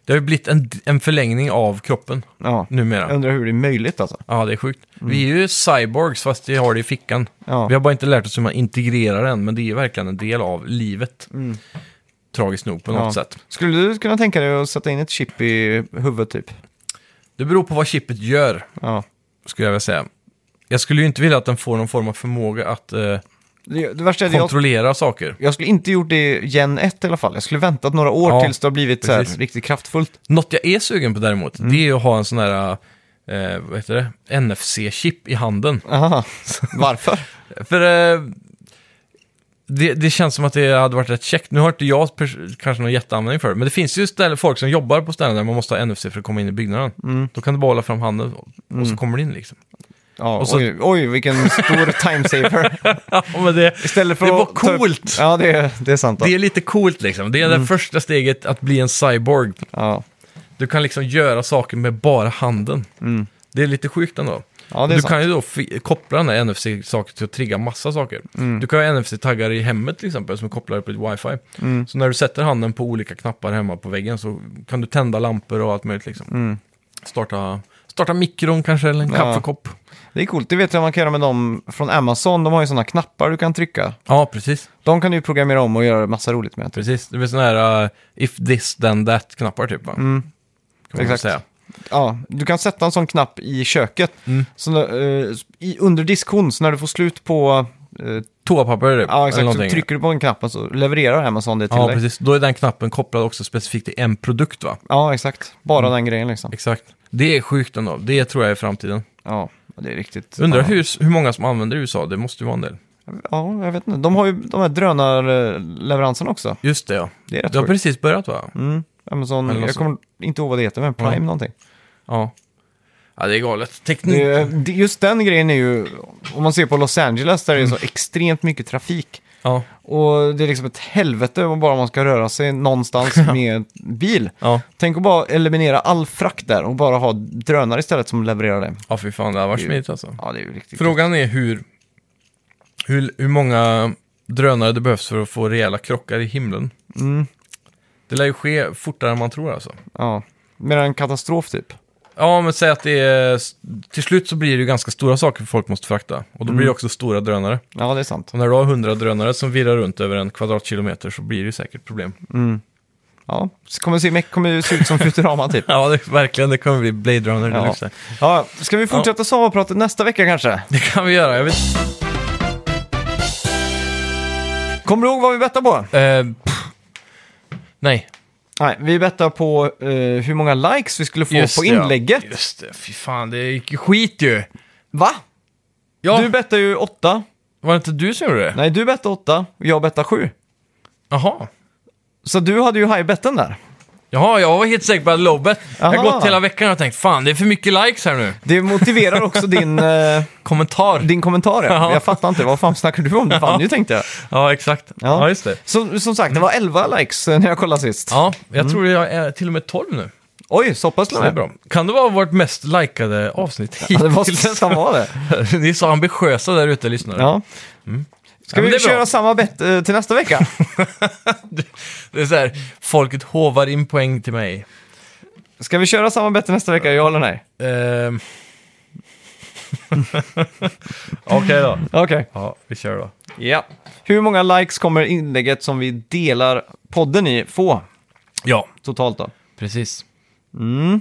Speaker 2: Det har ju blivit en, en förlängning av kroppen
Speaker 1: Ja. Jag
Speaker 2: numera.
Speaker 1: undrar hur det är möjligt alltså.
Speaker 2: Ja, det är sjukt. Vi är ju cyborgs fast vi har det i fickan.
Speaker 1: Ja.
Speaker 2: Vi har bara inte lärt oss hur man integrerar den, men det är ju verkligen en del av livet. Tragiskt nog på något
Speaker 1: Mm. Ja.
Speaker 2: sätt.
Speaker 1: Skulle du kunna tänka dig att sätta in ett chip i huvudet typ?
Speaker 2: Det beror på vad chippet gör,
Speaker 1: Ja.
Speaker 2: skulle jag vilja säga. Jag skulle ju inte vilja att den får någon form av förmåga att eh,
Speaker 1: Det, det värsta är att jag,
Speaker 2: kontrollera saker.
Speaker 1: jag skulle inte gjort det i Gen 1 i alla fall. Jag skulle väntat några år
Speaker 2: Ja,
Speaker 1: tills det har blivit så här,
Speaker 2: precis.
Speaker 1: riktigt kraftfullt.
Speaker 2: Något jag är sugen på däremot,
Speaker 1: Mm.
Speaker 2: det är ju att ha en sån här, eh, vad heter det, NFC-chip i handen.
Speaker 1: Aha. Varför?
Speaker 2: För eh, det, det känns som att det hade varit rätt käckt. Nu har inte jag pers- kanske någon jätteanvändning för det, men det finns ju ställen, folk som jobbar på ställen där man måste ha NFC för att komma in i byggnaden.
Speaker 1: Mm.
Speaker 2: Då kan du bara hålla fram handen och så kommer det in liksom.
Speaker 1: Ja,
Speaker 2: Och så-
Speaker 1: oj, oj, vilken stor timesaver.
Speaker 2: Ja, men det,
Speaker 1: Istället för
Speaker 2: Det var
Speaker 1: att ta upp-
Speaker 2: coolt.
Speaker 1: Ja, Mm. det, det är sant. Då.
Speaker 2: det är lite coolt liksom. Det är det första steget att bli en cyborg.
Speaker 1: Ja.
Speaker 2: Du kan liksom göra saker med bara handen. Det är lite sjukt ändå.
Speaker 1: Mm. Ja, det är
Speaker 2: du
Speaker 1: sant.
Speaker 2: kan ju då fi- koppla den här NFC-saker till att trigga massa saker.
Speaker 1: Mm.
Speaker 2: Du kan ha NFC-taggar i hemmet till exempel som är kopplade på ditt wifi.
Speaker 1: Mm.
Speaker 2: Så när du sätter handen på olika knappar hemma på väggen så kan du tända lampor och allt möjligt liksom. Starta, starta mikron kanske eller en
Speaker 1: Mm. Ja.
Speaker 2: kaffekopp.
Speaker 1: Det är coolt, det vet jag man kan göra med dem från Amazon. De har ju sådana knappar du kan trycka.
Speaker 2: Ja, precis.
Speaker 1: De kan du ju programmera om och göra massa roligt med. Typ.
Speaker 2: eh, precis. Det blir sådana här uh, if this then that-knappar typ va? man
Speaker 1: Mm. Exakt.
Speaker 2: säga.
Speaker 1: Ja, du kan sätta en sån knapp i köket,
Speaker 2: Mm.
Speaker 1: så, eh, i, under diskhon, så när du får slut på... Eh,
Speaker 2: Toapapper typ,
Speaker 1: ja,
Speaker 2: eller
Speaker 1: exakt, så
Speaker 2: någonting.
Speaker 1: trycker du på den knappen så levererar Amazon det till
Speaker 2: ja,
Speaker 1: dig.
Speaker 2: precis. Då är den knappen kopplad också specifikt till en produkt va?
Speaker 1: Ja, exakt. Bara
Speaker 2: Mm.
Speaker 1: den grejen liksom.
Speaker 2: Exakt. Det är sjukt ändå. Det tror jag är framtiden.
Speaker 1: Ja, det är riktigt.
Speaker 2: Undrar
Speaker 1: ja.
Speaker 2: hur, hur många som använder i USA. Det måste ju vara en del.
Speaker 1: Ja, jag vet inte. De har ju de här drönarleveranserna också.
Speaker 2: Just det ja.
Speaker 1: Det är rätt
Speaker 2: Det har
Speaker 1: sjukt.
Speaker 2: precis börjat va?
Speaker 1: Mm. Amazon,
Speaker 2: Eller något
Speaker 1: jag kommer inte ihåg vad det heter, men Prime
Speaker 2: Ja.
Speaker 1: någonting.
Speaker 2: Ja. Ja, det är galet. Teknik.
Speaker 1: Det, är- det- just den grejen är ju, om man ser på Los Angeles där det är så extremt mycket trafik.
Speaker 2: Ja.
Speaker 1: Och det är liksom ett helvete om bara man ska röra sig någonstans med bil.
Speaker 2: Ja.
Speaker 1: Tänk att bara eliminera all frakt där och bara ha drönare istället som levererar det.
Speaker 2: ja, fy fan. Det har varit smidigt alltså.
Speaker 1: Ja, det är ju riktigt.
Speaker 2: Frågan är hur, hur, hur många drönare det behövs för att få rejäla krockar i himlen.
Speaker 1: Mm,
Speaker 2: Det lär ju ske fortare än man tror alltså.
Speaker 1: ja. Mer en katastrof typ.
Speaker 2: Ja, men säg att det är... Till slut så blir det ju ganska stora saker folk måste frakta. Och då blir det också stora drönare.
Speaker 1: Ja, det är sant.
Speaker 2: Och när du har hundra drönare som virrar runt över en kvadratkilometer så blir det ju säkert problem.
Speaker 1: Ja, så kommer se, men kommer se ut som Futurama typ.
Speaker 2: Ja, det, verkligen. Det kommer bli Blade Runner
Speaker 1: Ja.
Speaker 2: deluxe.
Speaker 1: Ja, ska vi fortsätta Sava-pratet nästa vecka kanske?
Speaker 2: Det kan vi göra. Jag vet,
Speaker 1: Kommer du ihåg vad vi bettade på?
Speaker 2: eh, pff. nej.
Speaker 1: Nej, vi bettade på eh, hur många likes vi skulle få på
Speaker 2: det, ja.
Speaker 1: inlägget.
Speaker 2: Just det. Fy fan, det gick ju skit ju.
Speaker 1: Va?
Speaker 2: Ja,
Speaker 1: Du bettade ju åtta.
Speaker 2: var det inte du som gjorde det?
Speaker 1: Nej, du bettade åtta och jag bettade sju.
Speaker 2: Jaha.
Speaker 1: Så du hade ju high-betten där.
Speaker 2: Jaha, jag var helt säker på att Lobet. Jag har
Speaker 1: Aha.
Speaker 2: gått hela veckan och tänkt fan, det är för mycket likes här nu.
Speaker 1: Det motiverar också din, eh,
Speaker 2: Kommentar.
Speaker 1: din kommentar.
Speaker 2: Ja.
Speaker 1: Ja. Jag fattar inte, vad fan snackar du om? Det fan ju tänkte jag.
Speaker 2: Ja, exakt. Ja, just det. Mm.
Speaker 1: Så, som sagt, det var 11 likes eh, när jag kollade sist.
Speaker 2: Ja, jag
Speaker 1: Mm.
Speaker 2: tror jag är till och med 12 nu.
Speaker 1: Oj, så pass till
Speaker 2: Så
Speaker 1: och
Speaker 2: det är
Speaker 1: med.
Speaker 2: bra. Kan det vara vårt mest likade avsnitt
Speaker 1: Ja, det måste
Speaker 2: hittills?
Speaker 1: nästan vara det.
Speaker 2: Ni är så ambitiösa där ute, lyssnare.
Speaker 1: Ja. Ska
Speaker 2: Mm. Ja, men det
Speaker 1: vi
Speaker 2: är bra.
Speaker 1: köra samma bett eh, till nästa vecka?
Speaker 2: Det är så här, folket hovar in poäng till mig.
Speaker 1: Ska vi köra samma bett till nästa vecka, ja eller nej?
Speaker 2: Ehm. Okej då.
Speaker 1: Okej.
Speaker 2: Ja, vi kör då.
Speaker 1: Ja. Hur många likes kommer inlägget som vi delar podden i få
Speaker 2: Ja,
Speaker 1: totalt då?
Speaker 2: precis. Kommer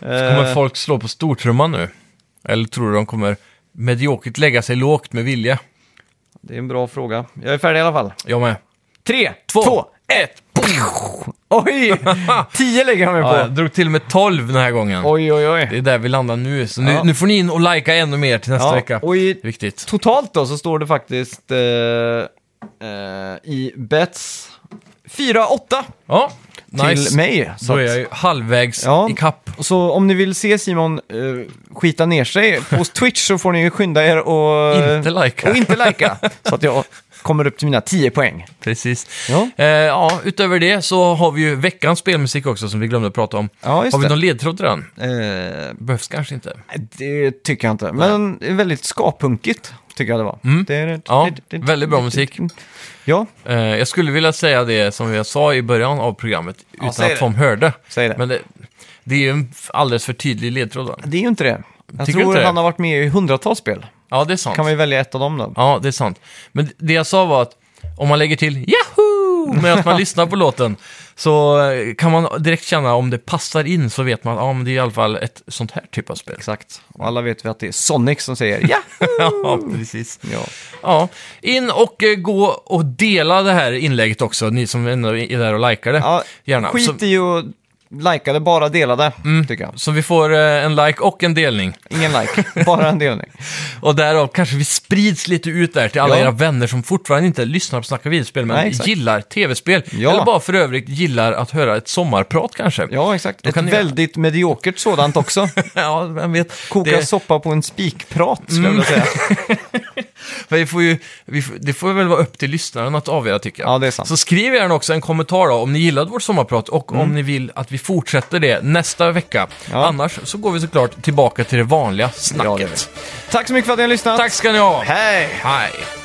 Speaker 1: Eh,
Speaker 2: folk slå på stortrumman nu? Eller tror du de kommer mediokert lägga sig lågt med vilja?
Speaker 1: det är en bra fråga. Jag är färdig i alla fall.
Speaker 2: Jag med.
Speaker 1: Tre,
Speaker 2: Två.
Speaker 1: två ett. Oj! Tio lägger han mig
Speaker 2: Ja, jag
Speaker 1: på.
Speaker 2: drog till och med 12 den här gången.
Speaker 1: Oj, oj, oj.
Speaker 2: Det är där vi landar nu, så nu,
Speaker 1: Ja.
Speaker 2: nu får ni in och likea ännu mer till nästa
Speaker 1: Ja,
Speaker 2: vecka.
Speaker 1: och i-
Speaker 2: Det är Viktigt.
Speaker 1: Totalt då så står det faktiskt eh, eh, i bets 4-8
Speaker 2: Ja, nice.
Speaker 1: till mig.
Speaker 2: Då
Speaker 1: Så,
Speaker 2: är jag ju halvvägs
Speaker 1: Ja.
Speaker 2: i kapp.
Speaker 1: att- så om ni vill se Simon eh, skita ner sig på Twitch så får ni ju skynda er och...
Speaker 2: Inte likea.
Speaker 1: Och inte likea. så att jag kommer upp till mina 10 poäng.
Speaker 2: Precis.
Speaker 1: Ja.
Speaker 2: Eh, ja, utöver det så har vi ju veckans spelmusik också som vi glömde prata om.
Speaker 1: Ja, just
Speaker 2: har vi
Speaker 1: det.
Speaker 2: någon ledtråd redan?
Speaker 1: Eh,
Speaker 2: Behövs kanske inte.
Speaker 1: det tycker jag inte. Men det är väldigt skapunkigt, tycker jag det var. Det är-
Speaker 2: Mm. Ja,
Speaker 1: det- det-
Speaker 2: väldigt bra musik.
Speaker 1: Ja,
Speaker 2: Eh, jag skulle vilja säga det som jag sa i början av programmet utan
Speaker 1: säg
Speaker 2: att Tom hörde.
Speaker 1: säg det.
Speaker 2: Men det, det är ju en f- alldeles för tydlig ledtråd. va?
Speaker 1: det är ju inte det. Jag
Speaker 2: Tycker du
Speaker 1: tror
Speaker 2: inte det?
Speaker 1: han har varit med i hundratals spel.
Speaker 2: Ja, det är sant.
Speaker 1: Kan vi välja ett av dem då?
Speaker 2: Ja, det är sant. Men det jag sa var att om man lägger till Yahoo! medan man lyssnar på låten så eh, kan man direkt känna om det passar in så vet man att ah, men det är i alla fall ett sånt här typ av spel.
Speaker 1: Exakt. Och alla vet vi att det är Sonic som säger ja.
Speaker 2: ja, precis.
Speaker 1: ja.
Speaker 2: Ja, in och eh, gå och dela det här inlägget också, ni som ändå är där och likar det.
Speaker 1: ja
Speaker 2: Gärna. Så, Mm.
Speaker 1: Skit i att likea det, bara dela det, tycker jag.
Speaker 2: så vi får eh, en like och en delning.
Speaker 1: Ingen like, bara en delning.
Speaker 2: Och därav kanske vi sprids lite ut där till alla
Speaker 1: Ja.
Speaker 2: era vänner som fortfarande inte lyssnar på Snacka videospel, men
Speaker 1: Nej, exakt.
Speaker 2: gillar tv-spel.
Speaker 1: Ja.
Speaker 2: Eller bara för övrigt gillar att höra ett sommarprat kanske.
Speaker 1: Ja, exakt. Ett
Speaker 2: kan ni-
Speaker 1: väldigt mediokert sådant också.
Speaker 2: Ja, vem vet.
Speaker 1: Koka
Speaker 2: Det, Mm.
Speaker 1: soppa på en spikprat, skulle jag vilja säga.
Speaker 2: vi får ju, vi, får- det får väl vara upp till lyssnaren att avgöra tycker jag.
Speaker 1: Ja, det är sant.
Speaker 2: Så skriv gärna också en kommentar då, om ni gillade vårt sommarprat och om ni vill att vi fortsätter det nästa vecka.
Speaker 1: Mm. Ja.
Speaker 2: Annars så går vi såklart tillbaka till det vanliga
Speaker 1: Ja, det
Speaker 2: snacket.
Speaker 1: gör Tack så mycket för att ni har lyssnat.
Speaker 2: Tack ska ni ha.
Speaker 1: Hej!
Speaker 2: Hej.